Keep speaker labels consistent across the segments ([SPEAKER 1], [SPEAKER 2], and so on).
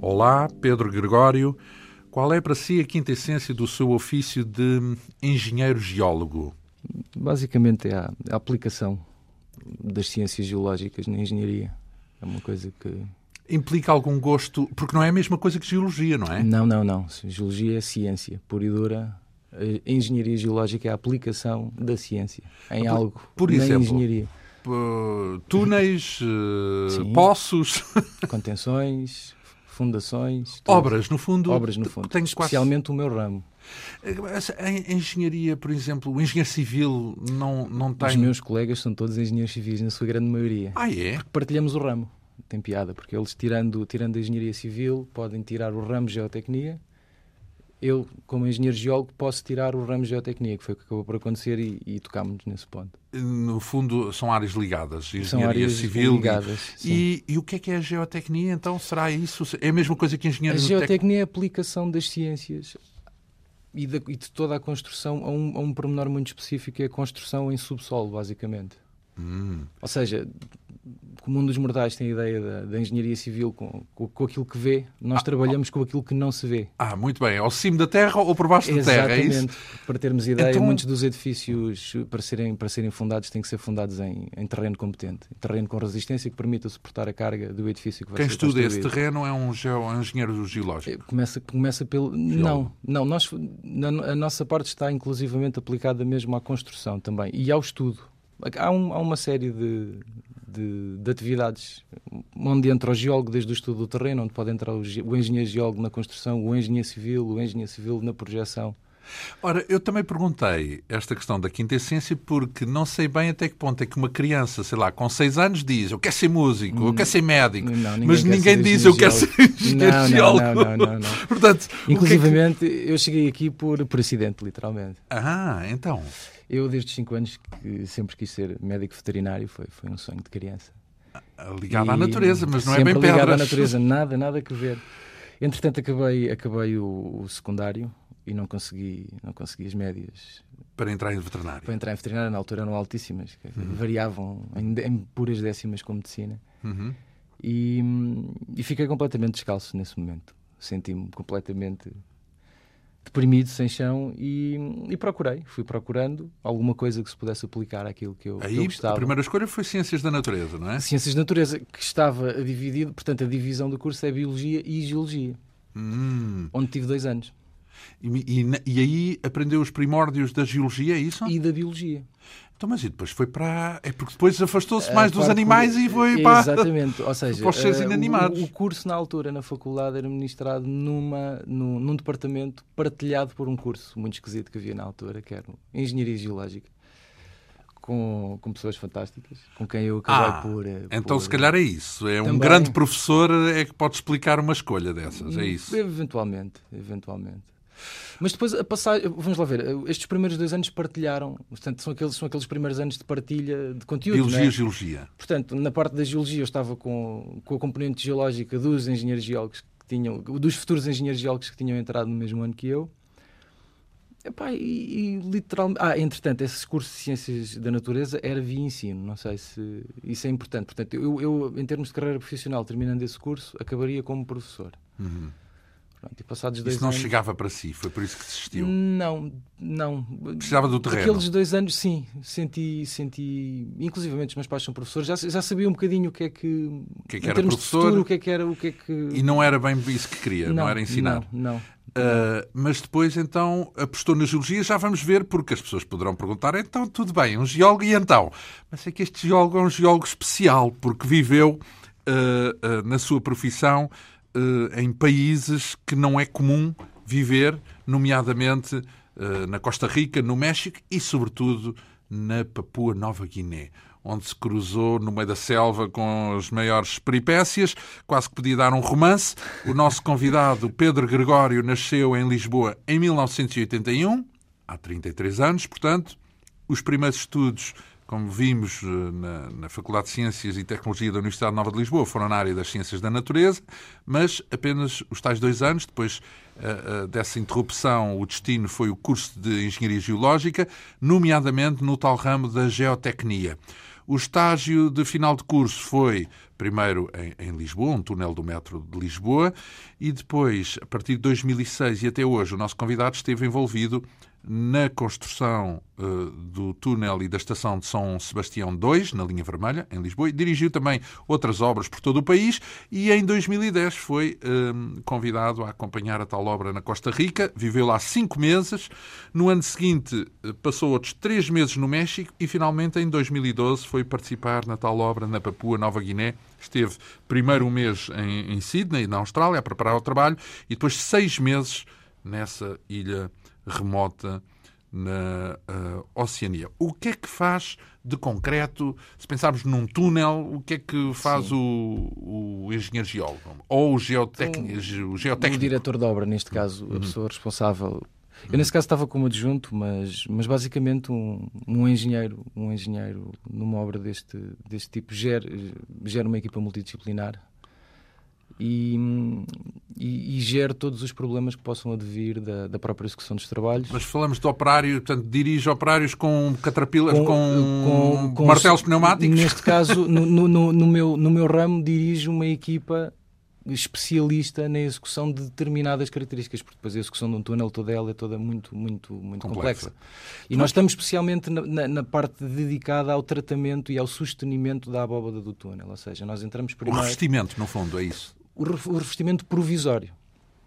[SPEAKER 1] Olá, Pedro Gregório. Qual é para si a quinta essência do seu ofício de engenheiro geólogo?
[SPEAKER 2] Basicamente é a, a aplicação das ciências geológicas na engenharia. É uma coisa que.
[SPEAKER 1] Implica algum gosto, porque não é a mesma coisa que geologia, não é?
[SPEAKER 2] Não, não, não. Geologia é ciência pura e dura. A engenharia geológica é a aplicação da ciência em
[SPEAKER 1] Ah, Por-
[SPEAKER 2] algo.
[SPEAKER 1] por
[SPEAKER 2] na
[SPEAKER 1] exemplo?
[SPEAKER 2] engenharia.
[SPEAKER 1] Uh, túneis, uh,
[SPEAKER 2] Sim.
[SPEAKER 1] poços,
[SPEAKER 2] Contenções, fundações. tudo.
[SPEAKER 1] obras, no fundo.
[SPEAKER 2] Obras, no fundo.
[SPEAKER 1] Tenho quase-
[SPEAKER 2] Especialmente o meu ramo.
[SPEAKER 1] A a engenharia, por exemplo, o engenheiro civil não, não
[SPEAKER 2] Os
[SPEAKER 1] tem.
[SPEAKER 2] meus colegas são todos engenheiros civis, na sua grande maioria.
[SPEAKER 1] Ah, é?
[SPEAKER 2] Partilhamos o ramo. Tem piada, porque eles, tirando, tirando a engenharia civil, podem tirar o ramo de geotecnia. Eu, como engenheiro geólogo, posso tirar o ramo de geotecnia, que foi o que acabou por acontecer, e, e tocámos nesse ponto.
[SPEAKER 1] Eh, No fundo, são áreas ligadas. Engenharia
[SPEAKER 2] São áreas
[SPEAKER 1] civil.
[SPEAKER 2] ligadas. sim.
[SPEAKER 1] E, e o que é que é a geotecnia? Então, será isso? É a mesma coisa que
[SPEAKER 2] A
[SPEAKER 1] engenheiro tec-
[SPEAKER 2] geotecnia é a aplicação das ciências e, da- e de toda a construção a um, a um pormenor muito específico, que é a construção em subsolo, basicamente.
[SPEAKER 1] Hum.
[SPEAKER 2] Ou seja, como um dos mortais tem a ideia da, da engenharia civil com, com, com aquilo que vê, nós trabalhamos com aquilo que não se vê.
[SPEAKER 1] Ah, muito bem. Ao cimo da terra ou por baixo da terra, é isso?
[SPEAKER 2] Para termos ideia,
[SPEAKER 1] Então-
[SPEAKER 2] muitos dos edifícios para serem, para serem fundados têm que ser fundados em, em terreno competente, em terreno com resistência que permita suportar a carga do edifício que vai
[SPEAKER 1] Quem
[SPEAKER 2] ser
[SPEAKER 1] estuda esse
[SPEAKER 2] construído.
[SPEAKER 1] terreno é um, geo, é um engenheiro geológico.
[SPEAKER 2] Começa, começa pelo. Não, não nós, na- a nossa parte está inclusivamente aplicada mesmo à construção também e ao estudo. Há, um- há uma série de, de, de atividades onde entra o geólogo desde o estudo do terreno, onde pode entrar o, ge- o engenheiro geólogo na construção, o engenheiro civil, o engenheiro civil na projeção.
[SPEAKER 1] Ora, eu também perguntei esta questão da quinta essência porque não sei bem até que ponto é que uma criança, sei lá, com seis anos diz eu quero ser músico, eu quero ser médico,
[SPEAKER 2] Hum, Não, ninguém
[SPEAKER 1] mas
[SPEAKER 2] quer
[SPEAKER 1] ninguém
[SPEAKER 2] ser
[SPEAKER 1] diz eu
[SPEAKER 2] engenheiro
[SPEAKER 1] quero ser engenheiro
[SPEAKER 2] Não, não,
[SPEAKER 1] geólogo.
[SPEAKER 2] não, não, não, não.
[SPEAKER 1] Portanto, o que é que-
[SPEAKER 2] Inclusivamente, eu cheguei aqui por, por acidente, literalmente.
[SPEAKER 1] Ah, então.
[SPEAKER 2] Eu, desde os 5 anos, que sempre quis ser médico veterinário, foi, foi um sonho de criança.
[SPEAKER 1] Ligado à
[SPEAKER 2] E
[SPEAKER 1] natureza, mas não é
[SPEAKER 2] sempre
[SPEAKER 1] bem
[SPEAKER 2] ligado
[SPEAKER 1] pedras.
[SPEAKER 2] à natureza, nada, nada a ver. Entretanto, acabei, acabei o, o secundário e não consegui, não consegui as médias
[SPEAKER 1] Para entrar em veterinário.
[SPEAKER 2] para entrar em veterinária, na altura eram altíssimas, que variavam em, de- em puras décimas com medicina.
[SPEAKER 1] Uhum.
[SPEAKER 2] E, hum, e fiquei completamente descalço nesse momento. Senti-me completamente deprimido, sem chão e, e procurei, fui procurando alguma coisa que se pudesse aplicar àquilo que eu, que eu
[SPEAKER 1] Aí a
[SPEAKER 2] gostava.
[SPEAKER 1] primeira escolha foi ciências da natureza, não é?
[SPEAKER 2] Ciências da Natureza, Assim, que estava dividido, portanto, a divisão do curso é Biologia e Geologia,
[SPEAKER 1] Hum.
[SPEAKER 2] onde tive dois anos,
[SPEAKER 1] E, e na- e aí aprendeu os primórdios da geologia, é isso?
[SPEAKER 2] e da Biologia.
[SPEAKER 1] Então, mas e depois foi para. É porque depois afastou-se
[SPEAKER 2] A
[SPEAKER 1] mais dos
[SPEAKER 2] parte- É,
[SPEAKER 1] animais e foi para.
[SPEAKER 2] Exatamente, ou seja,
[SPEAKER 1] para os seres
[SPEAKER 2] eh, o-
[SPEAKER 1] inanimados.
[SPEAKER 2] O, curso na altura, na faculdade, era ministrado numa, num, num departamento partilhado por um curso muito esquisito que havia na altura, que era o Engenharia Geológica. Com, com pessoas fantásticas, com quem eu acabei
[SPEAKER 1] Ah,
[SPEAKER 2] por. eh,
[SPEAKER 1] Então,
[SPEAKER 2] por-
[SPEAKER 1] se calhar é isso. É um
[SPEAKER 2] Também.
[SPEAKER 1] grande professor é que pode explicar uma escolha dessas. É isso.
[SPEAKER 2] Hum, Eventualmente, eventualmente. Mas depois a passagem, vamos lá ver, estes primeiros dois anos partilharam, portanto, são aqueles, são aqueles primeiros anos de partilha de conteúdo. não é?
[SPEAKER 1] Biologia e geologia.
[SPEAKER 2] Portanto, na parte da geologia eu estava com, com a componente geológica dos engenheiros geólogos que tinham, dos futuros engenheiros geólogos que tinham entrado no mesmo ano que eu. Epá, e, e literalmente. Ah, entretanto, esse curso de Ciências da Natureza era via ensino, não sei se. Isso é importante. Portanto, eu, eu em termos de carreira profissional, terminando esse curso, acabaria como professor.
[SPEAKER 1] Uhum.
[SPEAKER 2] Pronto, e passados dois
[SPEAKER 1] Isso não
[SPEAKER 2] anos. Hum.
[SPEAKER 1] chegava para si, foi por isso que desistiu.
[SPEAKER 2] Não, não.
[SPEAKER 1] Precisava do terreno.
[SPEAKER 2] Aqueles dois anos, sim, senti, senti. Inclusive, os meus pais são professores, já, já sabia um bocadinho o que é que. O
[SPEAKER 1] que é que
[SPEAKER 2] em
[SPEAKER 1] era
[SPEAKER 2] termos
[SPEAKER 1] professor?
[SPEAKER 2] De futuro, o que é que era. O que é que...
[SPEAKER 1] E não era bem isso que queria, não, era ensinar.
[SPEAKER 2] Não, não.
[SPEAKER 1] Ah, mas depois, então, apostou na geologia. Já vamos ver, porque as pessoas poderão perguntar: então, tudo bem, um geólogo, e então? Mas é que este geólogo é um geólogo especial, porque viveu ah, ah, na sua profissão ah, em países que não é comum viver, nomeadamente ah, na Costa Rica, no México e, sobretudo, na Papua Nova Guiné. Onde se cruzou no meio da selva com as maiores peripécias, quase que podia dar um romance. O nosso convidado, Pedro Gregório, nasceu em Lisboa um, em 1981, há 33 anos, portanto. Os primeiros estudos como vimos eh, na, na Faculdade de Ciências e Tecnologia da Universidade Nova de Lisboa, foram na área das ciências da natureza, mas apenas os tais dois anos, depois eh, eh, dessa interrupção, o destino foi o curso de Engenharia Geológica, nomeadamente no tal ramo da geotecnia. O estágio de final de curso foi primeiro em, em Lisboa, um túnel do metro de Lisboa, e depois, a partir de 2006 e até hoje, o nosso convidado esteve envolvido na construção eh, do túnel e da estação de São Sebastião II, na linha vermelha, em Lisboa, e dirigiu também outras obras por todo o país, e em 2010 foi eh, convidado a acompanhar a tal obra na Costa Rica, viveu lá cinco meses, no ano seguinte eh, passou outros três meses no México e finalmente em 2012 foi participar na tal obra na Papua Nova Guiné, esteve primeiro um mês em, em Sydney, na Austrália, a preparar o trabalho, e depois seis meses nessa ilha remota na ah, Oceania. O que é que faz de concreto, se pensarmos num túnel, o que é que faz o, o engenheiro geólogo? Ou o, geotec... é o
[SPEAKER 2] O
[SPEAKER 1] geotécnico?
[SPEAKER 2] diretor da obra, neste caso, a pessoa responsável. Eu nesse caso estava como adjunto, mas, mas basicamente um, um engenheiro, um engenheiro numa obra deste, deste tipo gera, gera uma equipa multidisciplinar e, e, e gera todos os problemas que possam advir da, da própria execução dos trabalhos.
[SPEAKER 1] Mas falamos de operário, portanto, dirige operários com caterpillars, com,
[SPEAKER 2] com- com-
[SPEAKER 1] martelos pneumáticos?
[SPEAKER 2] Neste caso, no, no- no- no meu, no meu ramo, dirijo uma equipa especialista na execução de determinadas características, porque depois a execução de um túnel toda ela é toda muito, muito, muito
[SPEAKER 1] Complexa.
[SPEAKER 2] complexa. E nós estamos especialmente na, na- na parte dedicada ao tratamento e ao sustenimento da abóbada do túnel, ou seja, nós entramos
[SPEAKER 1] O
[SPEAKER 2] primeiro...
[SPEAKER 1] revestimento, no fundo, é isso.
[SPEAKER 2] O ref- o revestimento provisório.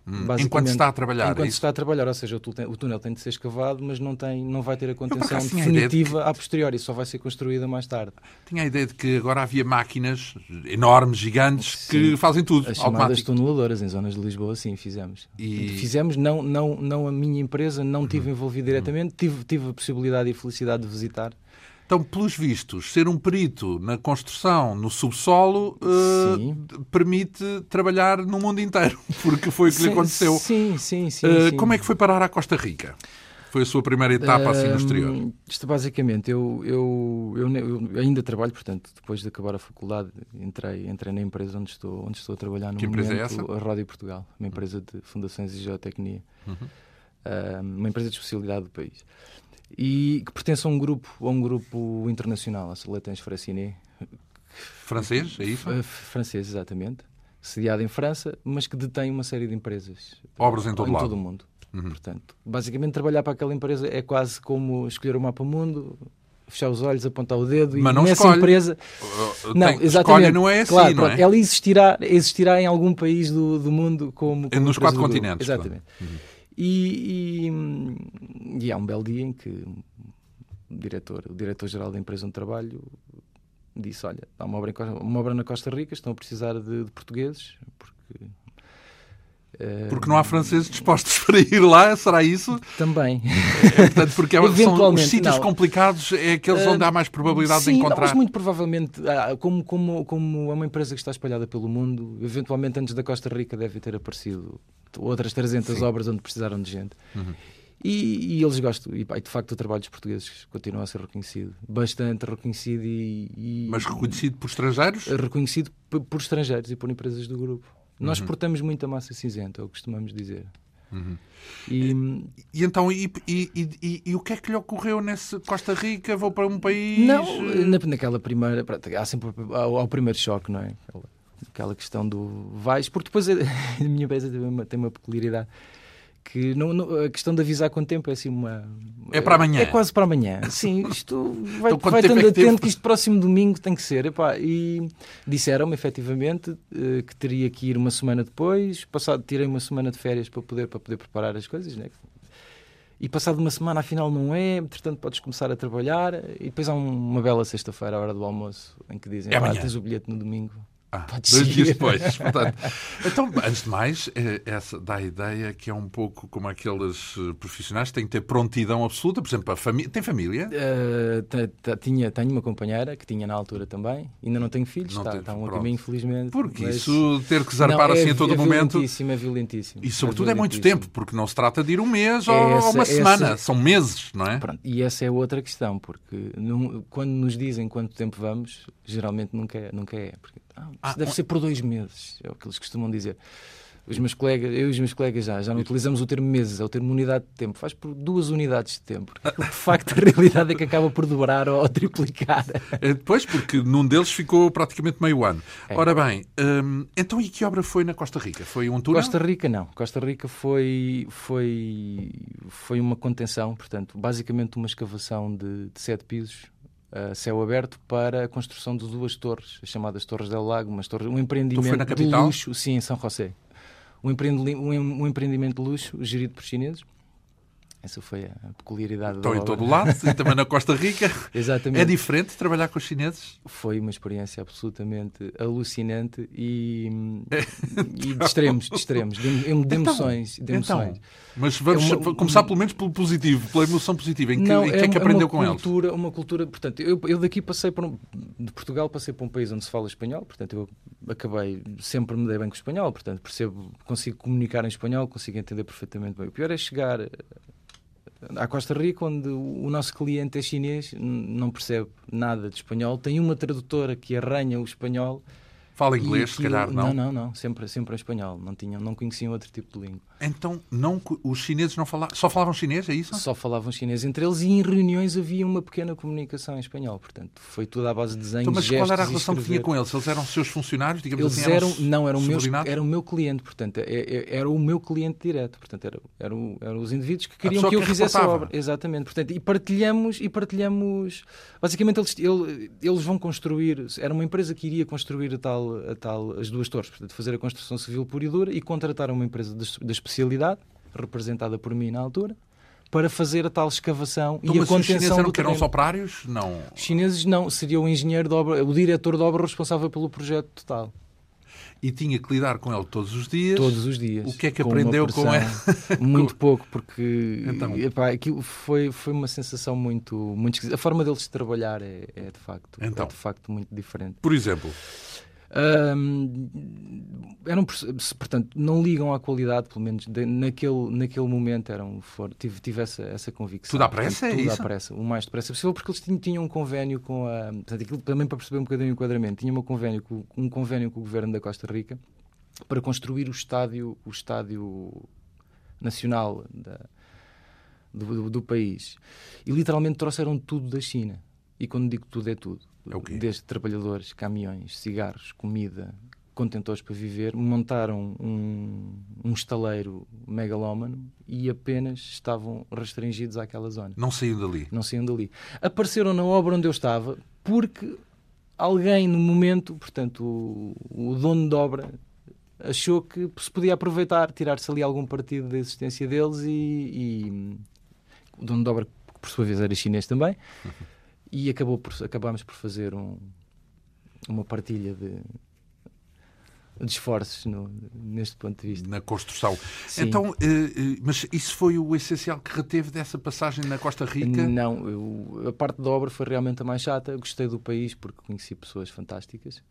[SPEAKER 2] basicamente.
[SPEAKER 1] Hum, enquanto se está a trabalhar,
[SPEAKER 2] Enquanto
[SPEAKER 1] é
[SPEAKER 2] se
[SPEAKER 1] isso?
[SPEAKER 2] está a trabalhar, ou seja, o túnel, o túnel tem de ser escavado, mas não, tem, não vai ter a
[SPEAKER 1] por
[SPEAKER 2] contenção
[SPEAKER 1] acaso tinha a ideia de
[SPEAKER 2] definitiva a posteriori, só vai ser construída mais tarde.
[SPEAKER 1] Tinha a ideia de que agora havia máquinas enormes, gigantes, que fazem tudo,
[SPEAKER 2] As chamadas
[SPEAKER 1] automático.
[SPEAKER 2] tuneladoras em zonas de Lisboa, sim, fizemos.
[SPEAKER 1] E- Uhum.
[SPEAKER 2] Fizemos, não, não, não a minha empresa, não estive envolvido diretamente, tive, tive a possibilidade e a felicidade de visitar.
[SPEAKER 1] Então, pelos vistos, ser um perito na construção, no subsolo, eh,
[SPEAKER 2] Sim.
[SPEAKER 1] d- permite trabalhar no mundo inteiro, porque foi o que lhe
[SPEAKER 2] Sim,
[SPEAKER 1] aconteceu.
[SPEAKER 2] Sim, sim, sim.
[SPEAKER 1] Eh,
[SPEAKER 2] sim.
[SPEAKER 1] Como é que foi parar à Costa Rica? Foi a sua primeira etapa assim no exterior.
[SPEAKER 2] Hum, Isto basicamente, eu, eu, eu, ne- eu ainda trabalho, portanto, depois de acabar a faculdade, entrei, entrei na empresa onde estou, onde estou a trabalhar no
[SPEAKER 1] Que
[SPEAKER 2] momento,
[SPEAKER 1] empresa é
[SPEAKER 2] a Rádio Portugal, uma empresa de fundações e geotecnia,
[SPEAKER 1] Uhum.
[SPEAKER 2] Ah, uma empresa de especialidade do país. E que pertence a um grupo, a um grupo internacional, a Soletens Franciné,
[SPEAKER 1] Francês, é isso?
[SPEAKER 2] f- francês exatamente, sediada em França, mas que detém uma série de empresas
[SPEAKER 1] Obras em todo
[SPEAKER 2] em
[SPEAKER 1] lado. Uhum.
[SPEAKER 2] todo o mundo. Portanto, basicamente trabalhar para aquela empresa é quase como escolher o mapa mundo, fechar os olhos, apontar o dedo
[SPEAKER 1] Mas
[SPEAKER 2] e
[SPEAKER 1] não
[SPEAKER 2] nessa
[SPEAKER 1] escolhe.
[SPEAKER 2] empresa
[SPEAKER 1] Eh,
[SPEAKER 2] não,
[SPEAKER 1] tem-
[SPEAKER 2] exatamente.
[SPEAKER 1] Escolha não é assim,
[SPEAKER 2] Claro,
[SPEAKER 1] não
[SPEAKER 2] pronto,
[SPEAKER 1] é?
[SPEAKER 2] Ela existirá, existirá em algum país do, do mundo como, como
[SPEAKER 1] Nos
[SPEAKER 2] empresa
[SPEAKER 1] quatro
[SPEAKER 2] do grupo.
[SPEAKER 1] continentes, claro.
[SPEAKER 2] Exatamente. E, e, e há um belo dia em que o diretor, o diretor-geral da empresa onde trabalho disse, olha, há uma obra, em Costa- uma obra na Costa Rica, estão a precisar de, de portugueses, porque... eh,
[SPEAKER 1] Porque não há franceses dispostos para ir lá, será isso?
[SPEAKER 2] Também.
[SPEAKER 1] Portanto, porque é- são os
[SPEAKER 2] Eventualmente,
[SPEAKER 1] sítios
[SPEAKER 2] não.
[SPEAKER 1] complicados é aqueles
[SPEAKER 2] Ah,
[SPEAKER 1] onde há mais probabilidade
[SPEAKER 2] Sim,
[SPEAKER 1] de
[SPEAKER 2] não,
[SPEAKER 1] encontrar.
[SPEAKER 2] mas muito provavelmente, ah, como, como, como é uma empresa que está espalhada pelo mundo, eventualmente antes da Costa Rica deve ter aparecido outras 300 obras onde precisaram de gente.
[SPEAKER 1] Uhum.
[SPEAKER 2] E, e eles gostam, e, pá, e de facto o trabalho dos portugueses continua a ser reconhecido, bastante reconhecido e, e-
[SPEAKER 1] Mas reconhecido por estrangeiros?
[SPEAKER 2] reconhecido p- por estrangeiros e por empresas do grupo. Nós
[SPEAKER 1] Uhum.
[SPEAKER 2] portamos muita massa cinzenta, é o que costumamos dizer. E,
[SPEAKER 1] E então, e, e- e- e- e o que é que lhe ocorreu nesse Costa Rica? Vou para um país.
[SPEAKER 2] Não, na, naquela primeira. pronto, Há sempre ao, ao primeiro choque, não é? Aquela, aquela questão do vais, porque depois a, a minha empresa tem uma, tem uma peculiaridade que não, não- a questão de avisar com tempo é assim uma.
[SPEAKER 1] É para amanhã.
[SPEAKER 2] É quase para amanhã. Sim, isto vai,
[SPEAKER 1] Então, quanto
[SPEAKER 2] vai
[SPEAKER 1] tempo
[SPEAKER 2] estando
[SPEAKER 1] é que teve?
[SPEAKER 2] atento que isto próximo domingo tem que ser. epá, e disseram-me efetivamente eh, que teria que ir uma semana depois. Passado, tirei uma semana de férias para poder, para poder preparar as coisas, né? E passado uma semana, afinal não é, portanto podes começar a trabalhar. E depois há um- uma bela sexta-feira, à hora do almoço, em que dizem:
[SPEAKER 1] É
[SPEAKER 2] "Pá,
[SPEAKER 1] amanhã."
[SPEAKER 2] tens o bilhete no domingo.
[SPEAKER 1] Ah,
[SPEAKER 2] Pode
[SPEAKER 1] dois
[SPEAKER 2] ser.
[SPEAKER 1] dias depois. Portanto, então, antes de mais, eh, essa dá a ideia que é um pouco como aqueles eh, profissionais que têm que ter prontidão absoluta. Por exemplo, a família. Tem família?
[SPEAKER 2] Eh, te- te- tinha, tenho uma companheira que tinha na altura também. Ainda não tenho filhos,
[SPEAKER 1] Não
[SPEAKER 2] está,
[SPEAKER 1] tens,
[SPEAKER 2] está um a
[SPEAKER 1] pronto.
[SPEAKER 2] caminho, infelizmente.
[SPEAKER 1] Porque
[SPEAKER 2] mas-
[SPEAKER 1] isso, ter que zarpar
[SPEAKER 2] Não, é
[SPEAKER 1] assim a
[SPEAKER 2] vi-
[SPEAKER 1] todo
[SPEAKER 2] é
[SPEAKER 1] momento.
[SPEAKER 2] violentíssimo, é violentíssimo.
[SPEAKER 1] E sobretudo é muito
[SPEAKER 2] violentíssimo.
[SPEAKER 1] tempo, porque não se trata de ir um mês
[SPEAKER 2] É
[SPEAKER 1] ou
[SPEAKER 2] essa-
[SPEAKER 1] uma
[SPEAKER 2] essa-
[SPEAKER 1] semana, são meses, não é?
[SPEAKER 2] Pronto, e essa é outra questão, porque num- quando nos dizem quanto tempo vamos, geralmente nunca é. Nunca é porque, ah, isso
[SPEAKER 1] Ah,
[SPEAKER 2] deve
[SPEAKER 1] um-
[SPEAKER 2] ser por dois meses, é o que eles costumam dizer. Os meus colegas, eu e os meus colegas já, já não utilizamos o termo meses, é o termo unidade de tempo. Faz por duas unidades de tempo. porque aquilo, De facto, a realidade é que acaba por dobrar ou, ou triplicar.
[SPEAKER 1] Eh, Depois, porque num deles ficou praticamente meio ano.
[SPEAKER 2] É.
[SPEAKER 1] Ora bem, hum, então e que obra foi na Costa Rica? Foi um túnel?
[SPEAKER 2] Costa Rica não. Costa Rica foi, foi, foi uma contenção, portanto, basicamente uma escavação de, de sete pisos a céu aberto para a construção de duas torres, as chamadas Torres del Lago, umas torres, um empreendimento
[SPEAKER 1] Então na
[SPEAKER 2] de
[SPEAKER 1] capital?
[SPEAKER 2] luxo, sim, em São José. Um, empreendi- um em- um empreendimento de luxo gerido por chineses. Essa foi a peculiaridade
[SPEAKER 1] Estão
[SPEAKER 2] da
[SPEAKER 1] Então, em todo
[SPEAKER 2] obra.
[SPEAKER 1] o lado, e também na Costa Rica.
[SPEAKER 2] Exatamente.
[SPEAKER 1] É diferente trabalhar com os chineses?
[SPEAKER 2] Foi uma experiência absolutamente alucinante e, e de extremos, de extremos, de, em- de emoções. de emoções.
[SPEAKER 1] Então, mas vamos
[SPEAKER 2] É uma-
[SPEAKER 1] começar pelo menos pelo positivo, pela emoção positiva. Em que, em que é, que
[SPEAKER 2] uma-
[SPEAKER 1] aprendeu
[SPEAKER 2] uma
[SPEAKER 1] com eles?
[SPEAKER 2] cultura, Uma cultura, portanto, eu, eu daqui passei por um, de Portugal passei para um país onde se fala espanhol, portanto eu acabei, sempre me dei bem com o espanhol, portanto percebo, consigo comunicar em espanhol, consigo entender perfeitamente bem. O pior é chegar eh, à Costa Rica onde o nosso cliente é chinês, n- não percebe nada de espanhol, tem uma tradutora que arranha o espanhol.
[SPEAKER 1] Fala
[SPEAKER 2] e
[SPEAKER 1] inglês, se
[SPEAKER 2] aquilo-
[SPEAKER 1] calhar não.
[SPEAKER 2] Não, não, não, sempre, sempre em espanhol, não, tinham, não conheciam outro tipo de língua.
[SPEAKER 1] Então, não, co- os chineses não falavam, só falavam chinês, é isso?
[SPEAKER 2] Só falavam chinês entre eles e em reuniões havia uma pequena comunicação em espanhol. Portanto, foi tudo à base de desenhos,
[SPEAKER 1] Então, mas qual
[SPEAKER 2] gestos
[SPEAKER 1] era a
[SPEAKER 2] e
[SPEAKER 1] relação que tinha
[SPEAKER 2] escrever.
[SPEAKER 1] com eles? Eles eram seus funcionários, digamos
[SPEAKER 2] Eles
[SPEAKER 1] assim?
[SPEAKER 2] eram, não, eram meus,
[SPEAKER 1] subordinados?
[SPEAKER 2] era o meu cliente, portanto, é- é- era o meu cliente direto, portanto, eram era o- eram os indivíduos que queriam
[SPEAKER 1] pessoa
[SPEAKER 2] que eu
[SPEAKER 1] que
[SPEAKER 2] fizesse a
[SPEAKER 1] reportava.
[SPEAKER 2] obra. Exatamente, portanto, e partilhamos, e partilhamos, basicamente eles, ele- eles vão construir, era uma empresa que iria construir a tal, a tal, as duas torres, portanto, fazer a construção civil pura e dura e contratar uma empresa da da especialidade, representada por mim na altura, para fazer a tal escavação
[SPEAKER 1] Então,
[SPEAKER 2] e a
[SPEAKER 1] mas os
[SPEAKER 2] contenção
[SPEAKER 1] chineses eram
[SPEAKER 2] do
[SPEAKER 1] que eram
[SPEAKER 2] terreno.
[SPEAKER 1] só operários? Não.
[SPEAKER 2] Os chineses não, seria o engenheiro de obra, o diretor de obra responsável pelo projeto total.
[SPEAKER 1] E tinha que lidar com ele todos os dias?
[SPEAKER 2] Todos os dias.
[SPEAKER 1] O que é que
[SPEAKER 2] com uma
[SPEAKER 1] aprendeu
[SPEAKER 2] pressão
[SPEAKER 1] com
[SPEAKER 2] Muito pouco, porque
[SPEAKER 1] Então.
[SPEAKER 2] epá, aquilo foi, foi uma sensação muito, muito esquisita. A forma deles de trabalhar é, é de facto,
[SPEAKER 1] Então.
[SPEAKER 2] é de facto muito diferente.
[SPEAKER 1] Por exemplo,
[SPEAKER 2] Hum, eram, perso- se- portanto, não ligam à qualidade, pelo menos de- naquele, naquele momento eram, for, tive, tive essa, essa convicção.
[SPEAKER 1] Tudo à pressa,
[SPEAKER 2] Portanto,
[SPEAKER 1] é
[SPEAKER 2] Tudo
[SPEAKER 1] isso?
[SPEAKER 2] à pressa, o mais depressa possível, porque eles tinham, tinham um convênio com a. Portanto, aquilo também para perceber um bocadinho o enquadramento, tinham um convênio, com, um convênio com o governo da Costa Rica para construir o estádio, o estádio nacional da- do, do- do país. E literalmente trouxeram tudo da China. E quando digo tudo, é tudo.
[SPEAKER 1] É o quê?
[SPEAKER 2] Desde trabalhadores, caminhões, cigarros, comida, contentores para viver, montaram um, um estaleiro megalómano e apenas estavam restringidos àquela zona.
[SPEAKER 1] não saíam dali.
[SPEAKER 2] Não saiam dali. Apareceram na obra onde eu estava porque alguém, no momento, portanto, o, o dono da obra achou que se podia aproveitar, tirar-se ali algum partido da existência deles e, e- o dono da obra, que por sua vez era chinês também, e acabou por, acabámos por fazer um- uma partilha de, de esforços no- neste ponto de vista.
[SPEAKER 1] Na construção.
[SPEAKER 2] Sim.
[SPEAKER 1] Então, eh, eh, mas isso foi o essencial que reteve dessa passagem na Costa Rica?
[SPEAKER 2] Não, eu- a parte da obra foi realmente a mais chata. Eu Gostei do país porque conheci pessoas fantásticas,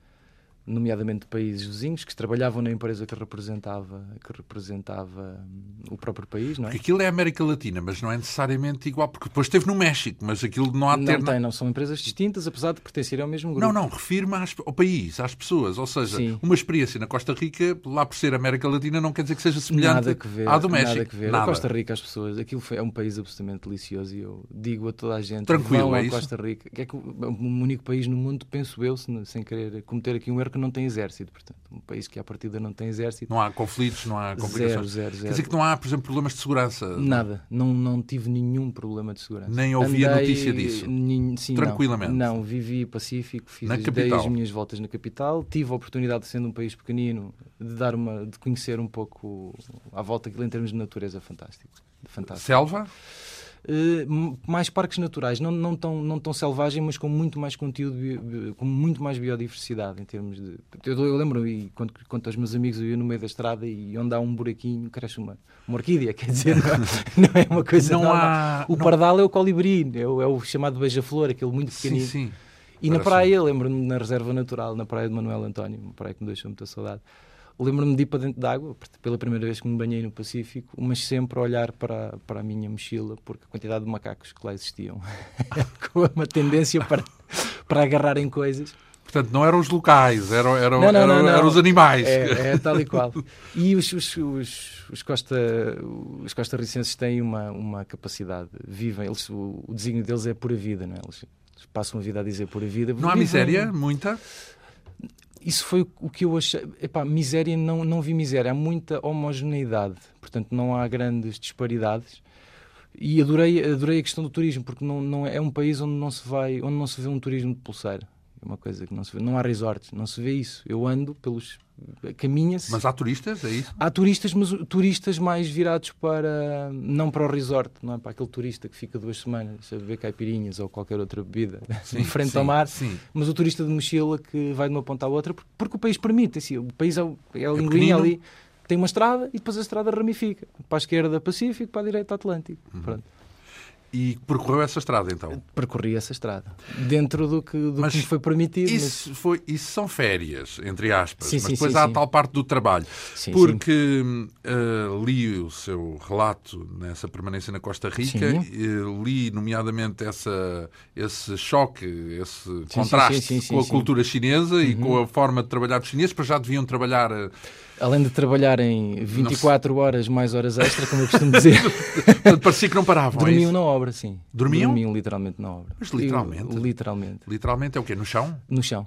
[SPEAKER 2] nomeadamente de países vizinhos que trabalhavam na empresa que representava, que representava hum, o próprio país, não é?
[SPEAKER 1] Porque aquilo é América Latina, mas não é necessariamente igual, porque depois esteve no México, mas aquilo não há de ter.
[SPEAKER 2] Não tem, não são empresas distintas, apesar de pertencerem ao mesmo grupo.
[SPEAKER 1] Não, não, refiro-me às- ao país, às pessoas. Ou seja,
[SPEAKER 2] Sim.
[SPEAKER 1] uma experiência na Costa Rica, lá por ser América Latina, não quer dizer que seja semelhante
[SPEAKER 2] nada que ver,
[SPEAKER 1] à do México.
[SPEAKER 2] nada que ver. A Costa Rica, as pessoas, aquilo foi- é um país absolutamente delicioso e eu digo a toda a gente:
[SPEAKER 1] Tranquilo,
[SPEAKER 2] vão
[SPEAKER 1] é
[SPEAKER 2] à
[SPEAKER 1] isso?
[SPEAKER 2] Costa Rica, que é que o um único país no mundo, penso eu, se- sem querer cometer aqui um erro, que não tem exército. Portanto, um país que à partida não tem exército.
[SPEAKER 1] Não há conflitos, não há complicações.
[SPEAKER 2] Zero, zero, zero.
[SPEAKER 1] Quer dizer que não há, por exemplo, problemas de segurança.
[SPEAKER 2] Nada, não, não tive nenhum problema de segurança.
[SPEAKER 1] Nem ouvi a notícia disso?
[SPEAKER 2] nin- sim, não.
[SPEAKER 1] Tranquilamente?
[SPEAKER 2] Não, vivi pacífico, fiz
[SPEAKER 1] Na
[SPEAKER 2] as, dei
[SPEAKER 1] capital?
[SPEAKER 2] as minhas voltas na capital, tive a oportunidade, sendo um país pequenino, de dar uma de conhecer um pouco à volta aquilo em termos de natureza fantástico. Fantástico.
[SPEAKER 1] Selva?
[SPEAKER 2] eh, mais parques naturais, não, não, tão, não tão selvagem, mas com muito mais conteúdo, bio- bio- com muito mais biodiversidade em termos de. Eu, dou- eu lembro, e quando, quando os meus amigos eu ia no meio da estrada e onde há um buraquinho cresce uma, uma orquídea, quer dizer, não, não é uma coisa
[SPEAKER 1] Não
[SPEAKER 2] normal.
[SPEAKER 1] há-
[SPEAKER 2] O
[SPEAKER 1] não-
[SPEAKER 2] pardal é o colibri, é o, é o chamado beija-flor, aquele muito
[SPEAKER 1] Sim,
[SPEAKER 2] pequenino.
[SPEAKER 1] sim.
[SPEAKER 2] E na
[SPEAKER 1] Parece
[SPEAKER 2] praia, lembro-me, na reserva natural, na praia de Manuel António, uma praia que me deixou muita saudade, lembro-me de ir para dentro de água, porque pela primeira vez que me banhei no Pacífico, mas sempre a olhar para, para a minha mochila, porque a quantidade de macacos que lá existiam, com uma tendência para, para agarrarem coisas.
[SPEAKER 1] Portanto, não eram os locais, eram, eram,
[SPEAKER 2] Não, não,
[SPEAKER 1] eram,
[SPEAKER 2] não, não.
[SPEAKER 1] eram os animais.
[SPEAKER 2] É, é tal e qual. E os, os, os, os costa, os costarricenses têm uma, uma capacidade, vivem, eles, o, o desígnio deles é pura vida, não é? Eles, eles passam a vida a dizer pura vida.
[SPEAKER 1] Não há
[SPEAKER 2] vivem-
[SPEAKER 1] miséria, muita.
[SPEAKER 2] isso foi o- o que eu achei. Epá, miséria, não, não vi miséria. Há muita homogeneidade, portanto, não há grandes disparidades. E adorei, adorei a questão do turismo, porque não, não é é um país onde não se vai, onde não se vê um turismo de pulseira. É uma coisa que não se vê. Não há resorts, não se vê isso. Eu ando pelos. caminha-se.
[SPEAKER 1] Mas há turistas, é isso?
[SPEAKER 2] Há turistas, mas o- turistas mais virados para. não para o resort, não é? Para aquele turista que fica duas semanas a beber caipirinhas ou qualquer outra bebida em frente ao
[SPEAKER 1] sim,
[SPEAKER 2] mar
[SPEAKER 1] Sim.
[SPEAKER 2] mas o turista de mochila que vai de uma ponta à outra, porque, porque o país permite, assim, o país é, o- é a linguinha
[SPEAKER 1] pequenino.
[SPEAKER 2] ali, tem uma estrada e depois a estrada ramifica, para a esquerda Pacífico, para a direita Atlântico,
[SPEAKER 1] Uhum.
[SPEAKER 2] Pronto.
[SPEAKER 1] E percorreu essa estrada, então.
[SPEAKER 2] Percorri essa estrada, dentro do que, do
[SPEAKER 1] Mas
[SPEAKER 2] que me foi permitido.
[SPEAKER 1] Isso, foi, isso são férias, entre aspas.
[SPEAKER 2] Sim,
[SPEAKER 1] mas
[SPEAKER 2] sim,
[SPEAKER 1] depois
[SPEAKER 2] sim,
[SPEAKER 1] há a
[SPEAKER 2] sim.
[SPEAKER 1] tal parte do trabalho.
[SPEAKER 2] mas- Sim, sim.
[SPEAKER 1] Porque hum, eh, li o seu relato nessa permanência na Costa Rica,
[SPEAKER 2] Sim.
[SPEAKER 1] eh, li nomeadamente essa, esse choque, esse
[SPEAKER 2] sim,
[SPEAKER 1] contraste
[SPEAKER 2] sim, sim,
[SPEAKER 1] com
[SPEAKER 2] Uhum.
[SPEAKER 1] a
[SPEAKER 2] sim.
[SPEAKER 1] cultura chinesa e com a forma de trabalhar dos chineses, para já deviam trabalhar eh,
[SPEAKER 2] Além de trabalhar em 24 horas mais horas extra, como eu costumo dizer,
[SPEAKER 1] Portanto, parecia que não paravam. é
[SPEAKER 2] dormiam
[SPEAKER 1] isso?
[SPEAKER 2] na obra, sim.
[SPEAKER 1] Dormiam?
[SPEAKER 2] Dormiam literalmente na obra.
[SPEAKER 1] Mas literalmente?
[SPEAKER 2] Eu- literalmente.
[SPEAKER 1] Literalmente é o quê? No chão?
[SPEAKER 2] no chão.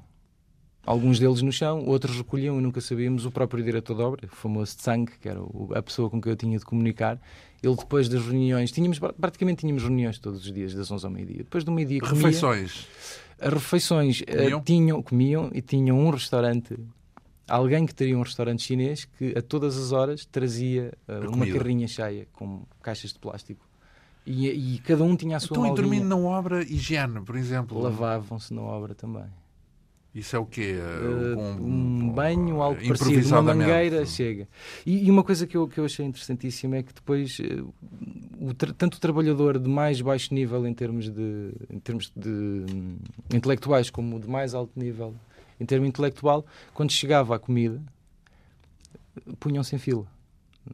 [SPEAKER 2] Alguns deles no chão, outros recolhiam e nunca sabíamos. O próprio diretor da obra, o famoso Tsang, que era o- a pessoa com quem eu tinha de comunicar, ele depois das reuniões, tínhamos, pra- praticamente tínhamos reuniões todos os dias, das 11 ao meio-dia. Depois do meio-dia comia,
[SPEAKER 1] Refeições.
[SPEAKER 2] as refeições eh,
[SPEAKER 1] Comiam?
[SPEAKER 2] tinham, comiam e tinham um restaurante, alguém que teria um restaurante chinês que a todas as horas trazia eh, uma
[SPEAKER 1] comida.
[SPEAKER 2] carrinha cheia com caixas de plástico. E, e cada um tinha a sua
[SPEAKER 1] Estão a Então, dormir
[SPEAKER 2] maldinha.
[SPEAKER 1] na obra higiene, por exemplo.
[SPEAKER 2] Lavavam-se na obra também.
[SPEAKER 1] Isso é o quê?
[SPEAKER 2] Eh,
[SPEAKER 1] Com-
[SPEAKER 2] um banho, algo parecido, uma
[SPEAKER 1] eh, improvisadamente.
[SPEAKER 2] mangueira, chega. E, e uma coisa que eu, que eu achei interessantíssima é que depois, eh, o tra- tanto o trabalhador de mais baixo nível em termos de, em termos de hum, intelectuais como o de mais alto nível em termo intelectual, quando chegava a comida, punham-se em fila.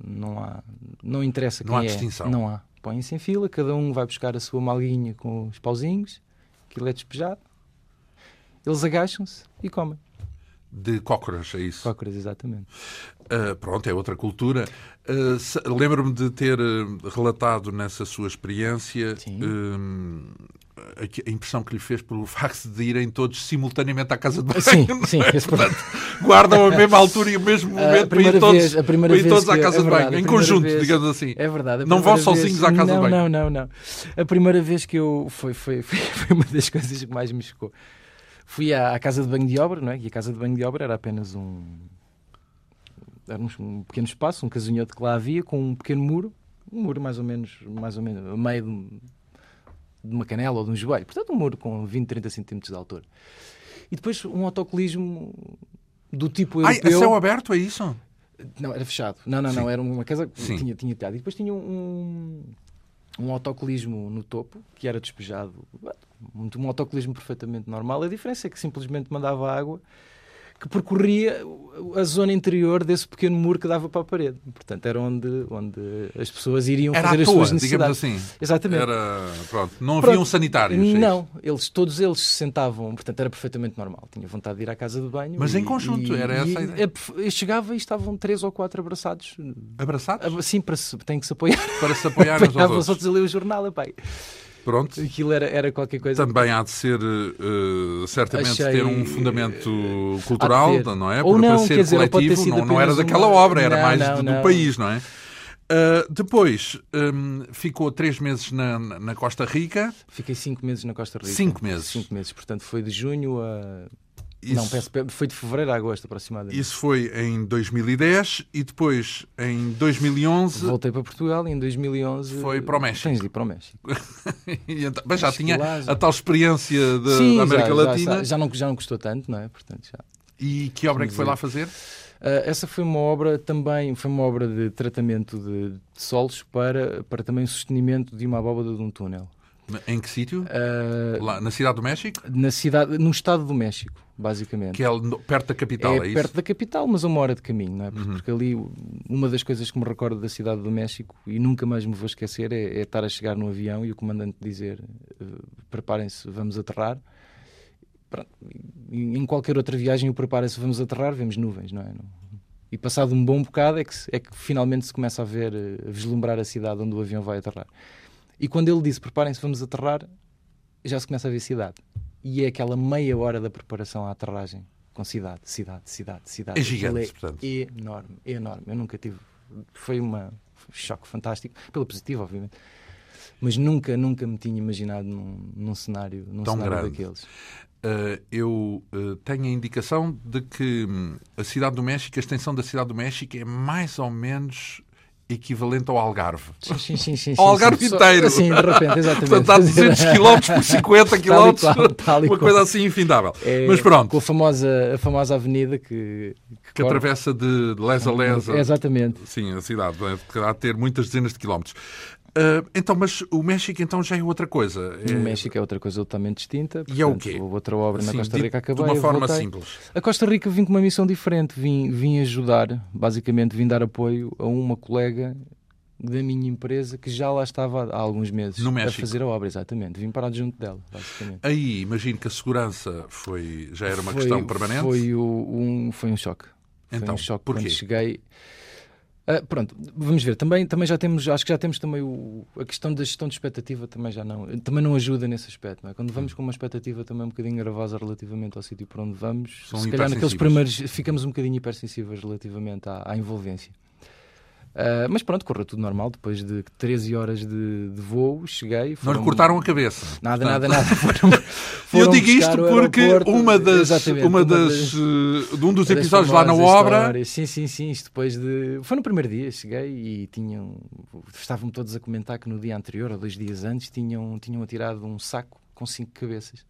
[SPEAKER 2] Não há, não interessa
[SPEAKER 1] Não
[SPEAKER 2] quem
[SPEAKER 1] há
[SPEAKER 2] é.
[SPEAKER 1] distinção.
[SPEAKER 2] Não há. Põem-se em fila, cada um vai buscar a sua malguinha com os pauzinhos, aquilo é despejado, eles agacham-se e comem.
[SPEAKER 1] De cócoras, é isso.
[SPEAKER 2] Cócoras, exatamente.
[SPEAKER 1] Ah, pronto, é outra cultura. Ah, se- Lembro-me de ter ah, relatado nessa sua experiência
[SPEAKER 2] Sim.
[SPEAKER 1] hum, a- a impressão que lhe fez pelo facto de irem todos simultaneamente à casa de banho.
[SPEAKER 2] Ah, Sim, sim. esse-
[SPEAKER 1] Guardam a mesma altura e o mesmo momento para
[SPEAKER 2] primeira
[SPEAKER 1] ir todos,
[SPEAKER 2] vez- a primeira
[SPEAKER 1] para ir
[SPEAKER 2] vez
[SPEAKER 1] todos à
[SPEAKER 2] que-
[SPEAKER 1] casa
[SPEAKER 2] é
[SPEAKER 1] de
[SPEAKER 2] verdade,
[SPEAKER 1] banho,
[SPEAKER 2] a
[SPEAKER 1] em
[SPEAKER 2] primeira
[SPEAKER 1] conjunto,
[SPEAKER 2] vez-
[SPEAKER 1] digamos assim.
[SPEAKER 2] É verdade. a
[SPEAKER 1] Não vão
[SPEAKER 2] primeira
[SPEAKER 1] sozinhos
[SPEAKER 2] vez-
[SPEAKER 1] à casa de
[SPEAKER 2] não,
[SPEAKER 1] banho.
[SPEAKER 2] Não, não, não. A primeira vez que eu. Foi, foi, foi, foi uma das coisas que mais me chocou. Fui à, à casa de banho de obra, não é? E a casa de banho de obra era apenas um. Era um, um pequeno espaço, um casinhote que lá havia, com um pequeno muro. Um muro mais ou menos, mais ou menos a meio de, um- de uma canela ou de um joelho. Portanto, um muro com 20, 30 centímetros de altura. E depois um autocolismo do tipo
[SPEAKER 1] Ai, a
[SPEAKER 2] europeu.
[SPEAKER 1] céu aberto, é isso?
[SPEAKER 2] Não, era fechado. Não, não,
[SPEAKER 1] Sim.
[SPEAKER 2] não. Era uma casa que
[SPEAKER 1] Sim.
[SPEAKER 2] tinha, tinha telhado. E depois tinha um, um autocolismo no topo, que era despejado. Um, um autocolismo perfeitamente normal. A diferença é que simplesmente mandava água que percorria a zona interior desse pequeno muro que dava para a parede. Portanto, era onde, onde as pessoas iriam
[SPEAKER 1] Era à
[SPEAKER 2] fazer as
[SPEAKER 1] toa,
[SPEAKER 2] suas
[SPEAKER 1] digamos
[SPEAKER 2] necessidades.
[SPEAKER 1] assim.
[SPEAKER 2] Exatamente.
[SPEAKER 1] Era, pronto, não
[SPEAKER 2] Pronto.
[SPEAKER 1] havia um sanitário. é isso?
[SPEAKER 2] Não, eles, todos eles se sentavam, portanto era perfeitamente normal. Tinha vontade de ir à casa de banho.
[SPEAKER 1] Mas
[SPEAKER 2] e-
[SPEAKER 1] em conjunto,
[SPEAKER 2] e-
[SPEAKER 1] era
[SPEAKER 2] e-
[SPEAKER 1] essa a ideia?
[SPEAKER 2] Eu chegava e estavam três ou quatro abraçados
[SPEAKER 1] Abraçados
[SPEAKER 2] Ah, Sim, para se, tem que se apoiar.
[SPEAKER 1] para se apoiar uns aos
[SPEAKER 2] Apoiavam os
[SPEAKER 1] outros.
[SPEAKER 2] outros a ler o jornal, epá.
[SPEAKER 1] Pronto.
[SPEAKER 2] Aquilo era, era qualquer coisa.
[SPEAKER 1] Também há de ser, eh, eh, certamente,
[SPEAKER 2] Achei, eh,
[SPEAKER 1] ter um fundamento cultural,
[SPEAKER 2] há de ter.
[SPEAKER 1] não é?
[SPEAKER 2] Ou
[SPEAKER 1] Para- para
[SPEAKER 2] não,
[SPEAKER 1] ser
[SPEAKER 2] quer dizer, ou pode
[SPEAKER 1] coletivo,
[SPEAKER 2] ter sido
[SPEAKER 1] não, não era
[SPEAKER 2] apenas
[SPEAKER 1] daquela
[SPEAKER 2] uma-
[SPEAKER 1] obra, era
[SPEAKER 2] Não,
[SPEAKER 1] mais
[SPEAKER 2] não,
[SPEAKER 1] do- do
[SPEAKER 2] não.
[SPEAKER 1] país, não é? Ah, depois hum, ficou três meses na, na Costa Rica
[SPEAKER 2] Fiquei cinco meses na Costa Rica.
[SPEAKER 1] Cinco meses.
[SPEAKER 2] Cinco meses, portanto foi de junho a
[SPEAKER 1] Isso,
[SPEAKER 2] Não, peço, pe- foi de fevereiro a agosto aproximadamente.
[SPEAKER 1] isso foi em 2010 e depois em 2011.
[SPEAKER 2] Voltei para Portugal e em 2011
[SPEAKER 1] Foi para o México.
[SPEAKER 2] Tens de ir para o México.
[SPEAKER 1] e então- mas já
[SPEAKER 2] Acho que
[SPEAKER 1] tinha
[SPEAKER 2] lá já-
[SPEAKER 1] a tal experiência de-
[SPEAKER 2] Sim,
[SPEAKER 1] da América
[SPEAKER 2] já, já,
[SPEAKER 1] Latina.
[SPEAKER 2] Já, já não, já não custou tanto, não é? Portanto, já.
[SPEAKER 1] E que obra é que foi lá fazer?
[SPEAKER 2] Ah, essa foi uma obra também, foi uma obra de tratamento de, de solos para, para também o sostenimento de uma abóbada de um túnel.
[SPEAKER 1] Em que sítio?
[SPEAKER 2] Ah,
[SPEAKER 1] Lá na cidade do México?
[SPEAKER 2] na cidade, no estado do México, basicamente.
[SPEAKER 1] Que é no- perto da capital, é,
[SPEAKER 2] é
[SPEAKER 1] isso? Uhum.
[SPEAKER 2] perto da capital, mas a uma hora de caminho, não é? Porque, porque ali uma das coisas que me recordo da cidade do México e nunca mais me vou esquecer é, é estar a chegar no avião e o comandante dizer eh, preparem-se, vamos aterrar. Pronto, e Em qualquer outra viagem, o preparem-se, vamos aterrar, vemos nuvens, não é? Não- E passado um bom bocado é que, se- é que finalmente se começa a ver, eh, a vislumbrar a cidade onde o avião vai aterrar. E quando ele disse preparem-se, vamos aterrar, já se começa a ver cidade. E é aquela meia hora da preparação à aterragem com cidade, cidade, cidade, cidade.
[SPEAKER 1] É gigante,
[SPEAKER 2] Aquilo
[SPEAKER 1] portanto.
[SPEAKER 2] é enorme, é enorme. Eu nunca tive. Foi uma- foi um choque fantástico, pela positiva, obviamente. Mas nunca, nunca me tinha imaginado num, num cenário, num
[SPEAKER 1] Tão
[SPEAKER 2] cenário
[SPEAKER 1] grande.
[SPEAKER 2] daqueles.
[SPEAKER 1] Uh, eu uh, tenho a indicação de que hum, a cidade do México, a extensão da cidade do México é mais ou menos equivalente ao Algarve.
[SPEAKER 2] Sim, sim, sim, sim,
[SPEAKER 1] Ao
[SPEAKER 2] sim,
[SPEAKER 1] Algarve
[SPEAKER 2] sim. Só-
[SPEAKER 1] inteiro.
[SPEAKER 2] Sim, de repente, exatamente.
[SPEAKER 1] Portanto, há 200 km por 50
[SPEAKER 2] Tal e
[SPEAKER 1] km,
[SPEAKER 2] qual, tal
[SPEAKER 1] uma
[SPEAKER 2] e qual.
[SPEAKER 1] coisa assim infindável.
[SPEAKER 2] É,
[SPEAKER 1] Mas
[SPEAKER 2] Com
[SPEAKER 1] pronto,
[SPEAKER 2] a famosa, a famosa avenida que,
[SPEAKER 1] que
[SPEAKER 2] corre-
[SPEAKER 1] atravessa de de lesa a lesa.
[SPEAKER 2] Exatamente.
[SPEAKER 1] Sim, a cidade, né, que há de ter muitas dezenas de quilómetros. Uh, então, mas o México então já é outra coisa. É,
[SPEAKER 2] No México é outra coisa totalmente distinta.
[SPEAKER 1] E é o
[SPEAKER 2] portanto,
[SPEAKER 1] quê?
[SPEAKER 2] Outra obra na
[SPEAKER 1] assim,
[SPEAKER 2] Costa
[SPEAKER 1] dito de
[SPEAKER 2] Rica acabei.
[SPEAKER 1] uma
[SPEAKER 2] eu
[SPEAKER 1] forma assim.
[SPEAKER 2] voltei.
[SPEAKER 1] simples.
[SPEAKER 2] A Costa Rica vim com uma missão diferente, vim, vim ajudar, basicamente vim dar apoio a uma colega da minha empresa que já lá estava há alguns meses
[SPEAKER 1] No
[SPEAKER 2] a
[SPEAKER 1] México.
[SPEAKER 2] fazer a obra, exatamente. Vim parar junto dela, basicamente.
[SPEAKER 1] Aí imagino que a segurança foi, já era uma
[SPEAKER 2] Foi-
[SPEAKER 1] questão permanente.
[SPEAKER 2] Foi, o- um, foi um choque. foi
[SPEAKER 1] Então,
[SPEAKER 2] um choque
[SPEAKER 1] porquê?
[SPEAKER 2] quando cheguei. Ah, pronto, vamos ver. Também, também já temos, acho que já temos também o- a questão da gestão de expectativa também já não, também não ajuda nesse aspecto. Não é? Quando
[SPEAKER 1] Hum.
[SPEAKER 2] vamos com uma expectativa também um bocadinho gravosa relativamente ao sítio para onde vamos,
[SPEAKER 1] São
[SPEAKER 2] se calhar naqueles
[SPEAKER 1] hipersensíveis.
[SPEAKER 2] primeiros ficamos um bocadinho hipersensíveis relativamente à, à envolvência. Ah, mas pronto, correu tudo normal. Depois de 13 horas de, de voo, cheguei.
[SPEAKER 1] Não lhe
[SPEAKER 2] foram-
[SPEAKER 1] cortaram a cabeça.
[SPEAKER 2] Nada,
[SPEAKER 1] Portanto,
[SPEAKER 2] nada, nada. Foram,
[SPEAKER 1] Eu
[SPEAKER 2] foram
[SPEAKER 1] digo
[SPEAKER 2] buscar
[SPEAKER 1] isto
[SPEAKER 2] o
[SPEAKER 1] porque
[SPEAKER 2] aeroporto.
[SPEAKER 1] uma das,
[SPEAKER 2] Exatamente,
[SPEAKER 1] uma das, eh, de um dos
[SPEAKER 2] das
[SPEAKER 1] episódios lá na
[SPEAKER 2] famosas
[SPEAKER 1] obra,
[SPEAKER 2] histórias. Sim, sim, sim. Isto depois de. Foi no primeiro dia, cheguei e tinham. Estavam todos a comentar que no dia anterior, ou dois dias antes, tinham, tinham atirado um saco com cinco cabeças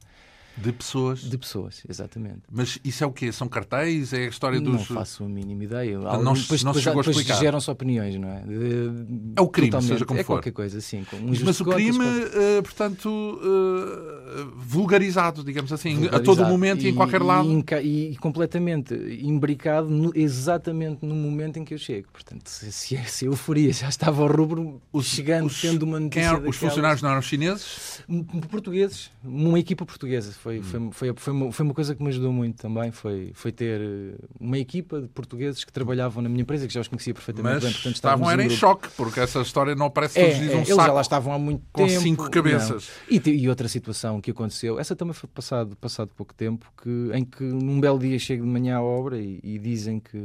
[SPEAKER 1] de pessoas.
[SPEAKER 2] de pessoas, exatamente.
[SPEAKER 1] Mas isso é o quê? São cartéis? É a história
[SPEAKER 2] Não
[SPEAKER 1] dos.
[SPEAKER 2] faço a mínima ideia.
[SPEAKER 1] não
[SPEAKER 2] Algum-
[SPEAKER 1] se-
[SPEAKER 2] depois
[SPEAKER 1] não se
[SPEAKER 2] depois,
[SPEAKER 1] chegou a
[SPEAKER 2] depois
[SPEAKER 1] explicar.
[SPEAKER 2] geram-se opiniões, não é? De-
[SPEAKER 1] É o crime,
[SPEAKER 2] totalmente.
[SPEAKER 1] seja como
[SPEAKER 2] é
[SPEAKER 1] for.
[SPEAKER 2] qualquer coisa, sim. Com um uns
[SPEAKER 1] Mas o
[SPEAKER 2] descontos,
[SPEAKER 1] crime,
[SPEAKER 2] com-
[SPEAKER 1] eh, portanto, eh, vulgarizado, digamos assim, a todo
[SPEAKER 2] vulgarizado.
[SPEAKER 1] momento e, em
[SPEAKER 2] E-
[SPEAKER 1] qualquer
[SPEAKER 2] E,
[SPEAKER 1] lado.
[SPEAKER 2] enca- e completamente imbricado no- exatamente no momento em que eu chego. Portanto, se, se, é, se a euforia já estava ao rubro, chegando,
[SPEAKER 1] os-
[SPEAKER 2] tendo uma
[SPEAKER 1] Quem
[SPEAKER 2] notícia
[SPEAKER 1] eram- os
[SPEAKER 2] daquelas-
[SPEAKER 1] funcionários não eram chineses?
[SPEAKER 2] M- m- portugueses, uma equipa portuguesa.
[SPEAKER 1] Hum.
[SPEAKER 2] Foi, foi, foi, foi, uma, foi uma coisa que me ajudou muito também. Foi, foi ter eh, uma equipa de portugueses que trabalhavam na minha empresa, que já os conhecia perfeitamente
[SPEAKER 1] Mas
[SPEAKER 2] bem. Portanto,
[SPEAKER 1] estavam
[SPEAKER 2] estávamos
[SPEAKER 1] era em
[SPEAKER 2] grupo.
[SPEAKER 1] choque, porque essa história não aparece
[SPEAKER 2] É,
[SPEAKER 1] todos os dias
[SPEAKER 2] é,
[SPEAKER 1] um
[SPEAKER 2] eles já
[SPEAKER 1] saco
[SPEAKER 2] lá estavam há muito
[SPEAKER 1] com
[SPEAKER 2] tempo.
[SPEAKER 1] cinco cabeças.
[SPEAKER 2] Não. E, te- e outra situação que aconteceu, essa também foi passado, passado pouco tempo, que, em que num belo dia chego de manhã à obra e, e dizem que,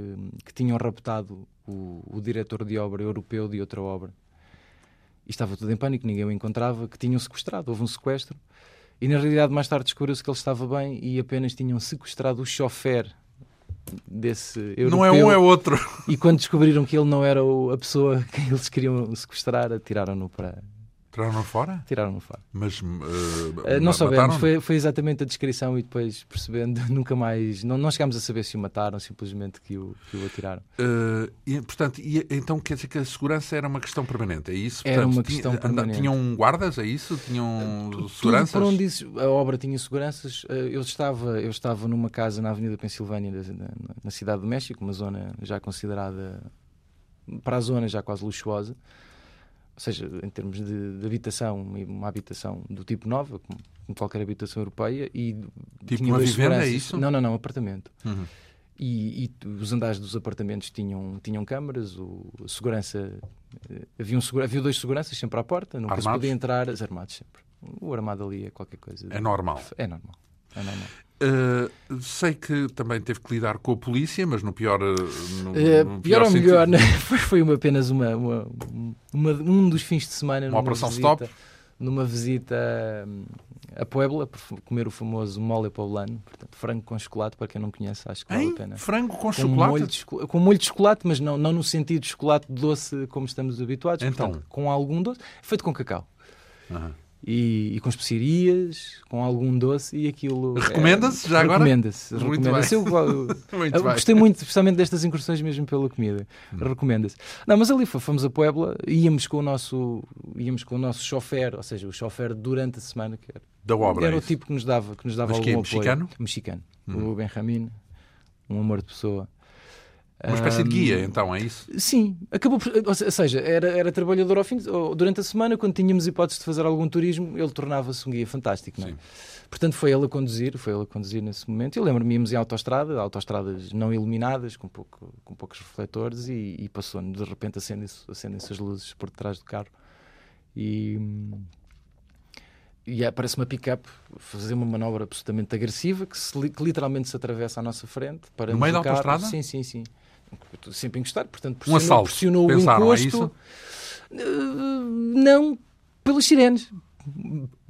[SPEAKER 2] que tinham raptado o, o diretor de obra europeu de outra obra. E estava tudo em pânico, ninguém o encontrava, que tinham sequestrado, houve um sequestro. E na realidade, mais tarde descobriu-se que ele estava bem e apenas tinham sequestrado o chofer desse europeu.
[SPEAKER 1] Não é um, é outro.
[SPEAKER 2] E quando descobriram que ele não era o- a pessoa que eles queriam sequestrar, atiraram-no para.
[SPEAKER 1] Tiraram fora?
[SPEAKER 2] Atiraram-no fora.
[SPEAKER 1] Mas. eh,
[SPEAKER 2] Eh,
[SPEAKER 1] ma-
[SPEAKER 2] não soubemos,
[SPEAKER 1] mataram-no?
[SPEAKER 2] foi, foi exatamente a descrição e depois percebendo, nunca mais. Não, não chegámos a saber se o mataram, simplesmente que o, que o atiraram.
[SPEAKER 1] Eh, e, portanto, e, então quer dizer que a segurança era uma questão permanente, é isso?
[SPEAKER 2] Era
[SPEAKER 1] Portanto,
[SPEAKER 2] uma
[SPEAKER 1] tinha-
[SPEAKER 2] questão
[SPEAKER 1] anda-
[SPEAKER 2] permanente. Eh,
[SPEAKER 1] Tinham guardas, é isso? Tinham seguranças?
[SPEAKER 2] Tudo por onde isso, a obra tinha seguranças. Eh, Eu estava, eu estava numa casa na Avenida Pensilvânia, na, na- na Cidade do México, uma zona já considerada para a zona já quase luxuosa. Ou seja, em termos de, de habitação, uma habitação do tipo nova, como como qualquer habitação europeia, e
[SPEAKER 1] Tipo
[SPEAKER 2] tinha
[SPEAKER 1] uma
[SPEAKER 2] dois
[SPEAKER 1] vivenda, é
[SPEAKER 2] seguranças.
[SPEAKER 1] isso?
[SPEAKER 2] Não, não, não, apartamento.
[SPEAKER 1] Uhum.
[SPEAKER 2] e, e t- os andares dos apartamentos tinham, tinham câmaras, o a segurança eh, havia, um segura- havia dois seguranças sempre à porta, nunca se
[SPEAKER 1] Armados?
[SPEAKER 2] podia entrar as armados sempre. O armado ali é qualquer coisa. de-
[SPEAKER 1] É normal.
[SPEAKER 2] É normal. É normal.
[SPEAKER 1] Eh, sei que também teve que lidar com a polícia, mas no pior. eh, No,
[SPEAKER 2] Eh,
[SPEAKER 1] no
[SPEAKER 2] pior ou
[SPEAKER 1] sentido.
[SPEAKER 2] melhor, né? foi, foi uma, apenas uma, uma- uma- um dos fins de semana.
[SPEAKER 1] Uma
[SPEAKER 2] numa
[SPEAKER 1] operação
[SPEAKER 2] visita.
[SPEAKER 1] stop?
[SPEAKER 2] numa visita hum, a Puebla, por f- comer o famoso mole poblano, portanto, frango com chocolate, para quem não conhece, acho que vale
[SPEAKER 1] Hein?
[SPEAKER 2] a pena.
[SPEAKER 1] Frango com,
[SPEAKER 2] Com molho,
[SPEAKER 1] chocolate?
[SPEAKER 2] de, choco- com molho de chocolate, mas não, não no sentido de chocolate doce como estamos habituados,
[SPEAKER 1] Então.
[SPEAKER 2] portanto, com algum doce, feito com cacau.
[SPEAKER 1] Aham.
[SPEAKER 2] E, e com especiarias, com algum doce e aquilo. é-
[SPEAKER 1] Recomenda-se, já agora?
[SPEAKER 2] Recomenda-se.
[SPEAKER 1] Muito
[SPEAKER 2] Recomenda-se. Eu, eu-
[SPEAKER 1] Muito
[SPEAKER 2] eu
[SPEAKER 1] bem. Hum.
[SPEAKER 2] gostei muito, especialmente destas incursões mesmo pela comida. Recomenda-se. Não, mas ali fo- fomos a Puebla, íamos com o nosso, íamos com o nosso chofer, ou seja, o chofer durante a semana, que era,
[SPEAKER 1] Da obra.
[SPEAKER 2] era
[SPEAKER 1] é
[SPEAKER 2] o
[SPEAKER 1] isso?
[SPEAKER 2] tipo que nos dava, que nos dava
[SPEAKER 1] Mas
[SPEAKER 2] algum
[SPEAKER 1] que é
[SPEAKER 2] apoio.
[SPEAKER 1] mexicano? Hum.
[SPEAKER 2] Mexicano. O Benjamin, um amor de pessoa.
[SPEAKER 1] Uma espécie de
[SPEAKER 2] ehm,
[SPEAKER 1] guia, então, é isso?
[SPEAKER 2] Sim, acabou por, ou se- ou seja, era, era trabalhador ao fim de- ou durante a semana, quando tínhamos hipótese de fazer algum turismo, ele tornava-se um guia fantástico, não é?
[SPEAKER 1] Sim.
[SPEAKER 2] Portanto, foi ele a conduzir, foi ele a conduzir nesse momento. Eu lembro-me, íamos em autoestrada, autoestradas não iluminadas, com, pouco, com poucos refletores, e, e passou-nos, de repente, acendem-se acendem as luzes por trás do carro. E, hum, e aparece uma pick-up fazer uma manobra absolutamente agressiva que, se li- que literalmente se atravessa à nossa frente. paramos
[SPEAKER 1] meio
[SPEAKER 2] o
[SPEAKER 1] da
[SPEAKER 2] carro.
[SPEAKER 1] autoestrada?
[SPEAKER 2] Sim, sim, sim. Sempre encostado, portanto,
[SPEAKER 1] Um
[SPEAKER 2] pressionou,
[SPEAKER 1] assalto.
[SPEAKER 2] pressionou o
[SPEAKER 1] Pensaram, é
[SPEAKER 2] encosto. Eh,
[SPEAKER 1] isso?
[SPEAKER 2] Não, pelas sirenes.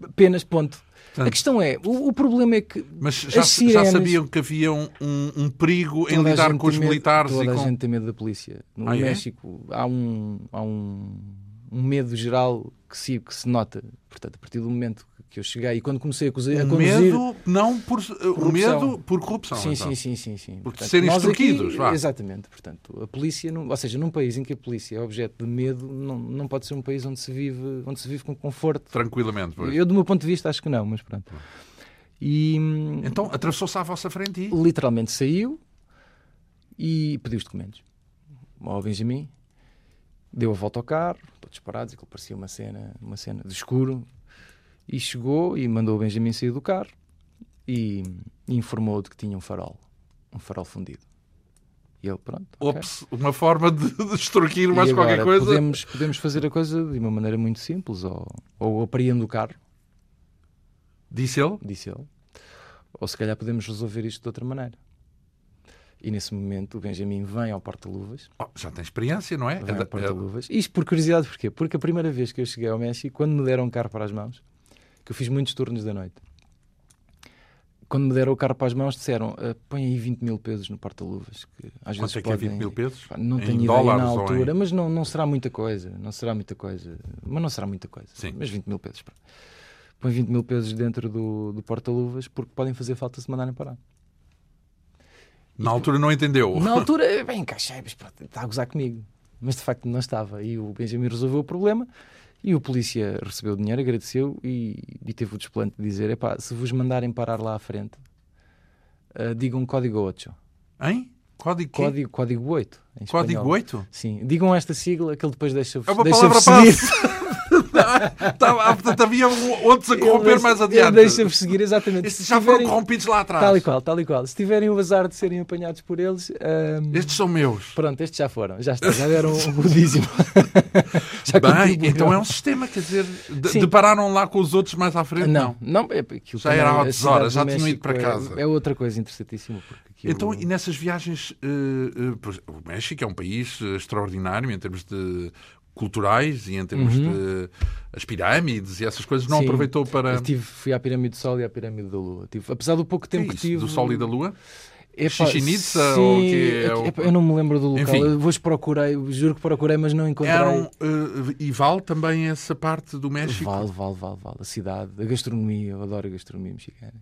[SPEAKER 2] Apenas, ponto.
[SPEAKER 1] Portanto-
[SPEAKER 2] a questão é, o, o problema é que
[SPEAKER 1] Mas já,
[SPEAKER 2] as
[SPEAKER 1] já
[SPEAKER 2] sirenes...
[SPEAKER 1] sabiam que havia um, um- um perigo em
[SPEAKER 2] Toda a
[SPEAKER 1] lidar
[SPEAKER 2] gente
[SPEAKER 1] com os
[SPEAKER 2] tem medo-
[SPEAKER 1] militares
[SPEAKER 2] toda
[SPEAKER 1] e
[SPEAKER 2] a
[SPEAKER 1] com.
[SPEAKER 2] gente tem medo da polícia. No
[SPEAKER 1] Ah, é?
[SPEAKER 2] México há, um, há um, um medo geral que se, que se nota. Portanto, a partir do momento que eu cheguei e quando comecei a, cozi- a
[SPEAKER 1] Um
[SPEAKER 2] conduzir...
[SPEAKER 1] medo não por corrupção.
[SPEAKER 2] É Corrupção.
[SPEAKER 1] medo por corrupção.
[SPEAKER 2] Sim,
[SPEAKER 1] então.
[SPEAKER 2] sim, sim, sim, sim.
[SPEAKER 1] Porque serem
[SPEAKER 2] nós aqui-
[SPEAKER 1] extorquidos, vá.
[SPEAKER 2] Exatamente. Portanto, a polícia, num- ou seja, num país em que a polícia é objeto de medo, não, não pode ser um país onde se vive, onde se vive com conforto.
[SPEAKER 1] Tranquilamente. pois.
[SPEAKER 2] Eu, do meu ponto de vista, acho que não, mas pronto. E hum,
[SPEAKER 1] Então atravessou-se à vossa frente e.
[SPEAKER 2] literalmente saiu e pediu os documentos ao Benjamin, deu a volta ao carro, todos parados, aquilo parecia uma cena, uma cena de escuro, e chegou e mandou o Benjamin sair do carro e, e informou de que tinha um farol, um farol fundido. E eu, pronto. ok.
[SPEAKER 1] Ops, uma forma de, de extorquir
[SPEAKER 2] E
[SPEAKER 1] mais qualquer
[SPEAKER 2] agora
[SPEAKER 1] coisa.
[SPEAKER 2] Podemos, podemos fazer a coisa de uma maneira muito simples, ou, ou apreendo o carro,
[SPEAKER 1] Disse ele.
[SPEAKER 2] disse ele. Ou se calhar podemos resolver isto de outra maneira. E nesse momento o Benjamin vem ao porta-luvas,
[SPEAKER 1] Oh, já tem experiência, não é?
[SPEAKER 2] vem
[SPEAKER 1] É da-
[SPEAKER 2] ao
[SPEAKER 1] é-
[SPEAKER 2] porta-luvas. Isto por curiosidade, porquê? Porque a primeira vez que eu cheguei ao México, quando me deram o carro para as mãos, que eu fiz muitos turnos da noite, quando me deram o carro para as mãos, disseram: "Ah, põe aí 20 mil pesos no porta-luvas, que às vezes
[SPEAKER 1] Quanto é que é
[SPEAKER 2] podem...
[SPEAKER 1] 20 mil pesos?
[SPEAKER 2] Pá, Não
[SPEAKER 1] Em
[SPEAKER 2] tenho ideia
[SPEAKER 1] dólares
[SPEAKER 2] na
[SPEAKER 1] ou em-
[SPEAKER 2] altura, mas não, não será muita coisa. Não será muita coisa. Mas não será muita coisa.
[SPEAKER 1] Sim.
[SPEAKER 2] Mas 20 mil pesos. pronto. Põe 20 mil pesos dentro do, do porta-luvas porque podem fazer falta se mandarem parar.
[SPEAKER 1] Na altura não entendeu.
[SPEAKER 2] Na altura, eh, bem, encaixei, mas pronto, está a gozar comigo. Mas de facto não estava. E o Benjamin resolveu o problema. E o polícia recebeu o dinheiro, agradeceu e, e teve o desplante de dizer: "Epá, se vos mandarem parar lá à frente, eh, digam código 8.
[SPEAKER 1] Hein? Código, quê?
[SPEAKER 2] Código, código 8. em
[SPEAKER 1] Código
[SPEAKER 2] espanhol.
[SPEAKER 1] 8?
[SPEAKER 2] Sim, digam esta sigla que ele depois deixa-vos
[SPEAKER 1] É uma
[SPEAKER 2] deixa-vos
[SPEAKER 1] palavra
[SPEAKER 2] seguir.
[SPEAKER 1] Estava- ah, portanto, havia um- outros a
[SPEAKER 2] Ele
[SPEAKER 1] corromper
[SPEAKER 2] deixa-
[SPEAKER 1] mais
[SPEAKER 2] ele
[SPEAKER 1] adiante.
[SPEAKER 2] Deixa-vos seguir, exatamente.
[SPEAKER 1] Estes
[SPEAKER 2] Se
[SPEAKER 1] já foram
[SPEAKER 2] tiverem-
[SPEAKER 1] corrompidos lá atrás.
[SPEAKER 2] Tal e qual, tal e qual. Se tiverem o azar de serem apanhados por eles, ahm,
[SPEAKER 1] Estes são meus.
[SPEAKER 2] pronto, estes já foram, já está, já deram um budíssimo. já
[SPEAKER 1] Bem,
[SPEAKER 2] contribuíram.
[SPEAKER 1] então é um sistema, quer dizer, de-
[SPEAKER 2] Sim.
[SPEAKER 1] depararam lá com os outros mais à frente?
[SPEAKER 2] Não, não, é aquilo
[SPEAKER 1] Já
[SPEAKER 2] também,
[SPEAKER 1] era
[SPEAKER 2] a
[SPEAKER 1] altas horas,
[SPEAKER 2] cidade do
[SPEAKER 1] já tinham
[SPEAKER 2] México
[SPEAKER 1] ido para
[SPEAKER 2] é-
[SPEAKER 1] casa.
[SPEAKER 2] É, outra coisa interessantíssima. Porque aquilo-
[SPEAKER 1] Então, e nessas viagens, eh, eh, pois, o México é um país eh, extraordinário em termos de culturais e em termos de as pirâmides e essas coisas, não
[SPEAKER 2] Uhum. Sim. tipo
[SPEAKER 1] aproveitou para
[SPEAKER 2] Eu tive, fui à Pirâmide do Sol e à Pirâmide da Lua. Tive, apesar do pouco
[SPEAKER 1] Que é
[SPEAKER 2] tempo que,
[SPEAKER 1] isso?
[SPEAKER 2] tive.
[SPEAKER 1] do Sol e da Lua?
[SPEAKER 2] Epá,
[SPEAKER 1] Chichen Itza,
[SPEAKER 2] sim,
[SPEAKER 1] ou o quê? É o-
[SPEAKER 2] epá, Eu não me lembro do local.
[SPEAKER 1] Enfim.
[SPEAKER 2] Eu vos procurei, juro que procurei, mas não encontrei.
[SPEAKER 1] Eram, eh, e vale também essa parte do México?
[SPEAKER 2] Vale, vale, vale, vale. A cidade, a gastronomia, eu adoro a gastronomia mexicana.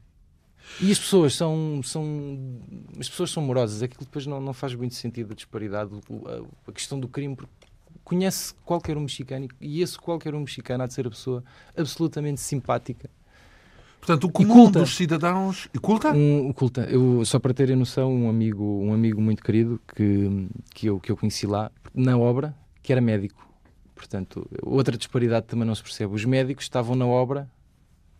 [SPEAKER 2] E as pessoas são, são as pessoas são amorosas, aquilo depois não, não faz muito sentido a disparidade, o- a, a questão do crime, porque conhece qualquer um mexicano e esse qualquer um mexicano há de ser a pessoa absolutamente simpática.
[SPEAKER 1] Portanto, o comum
[SPEAKER 2] culta.
[SPEAKER 1] dos cidadãos... E culta?
[SPEAKER 2] Um, oculta, eu, só para terem noção, um amigo, um amigo muito querido que, que, eu, que eu conheci lá na obra, que era médico. Portanto, outra disparidade também não se percebe. Os médicos estavam na obra,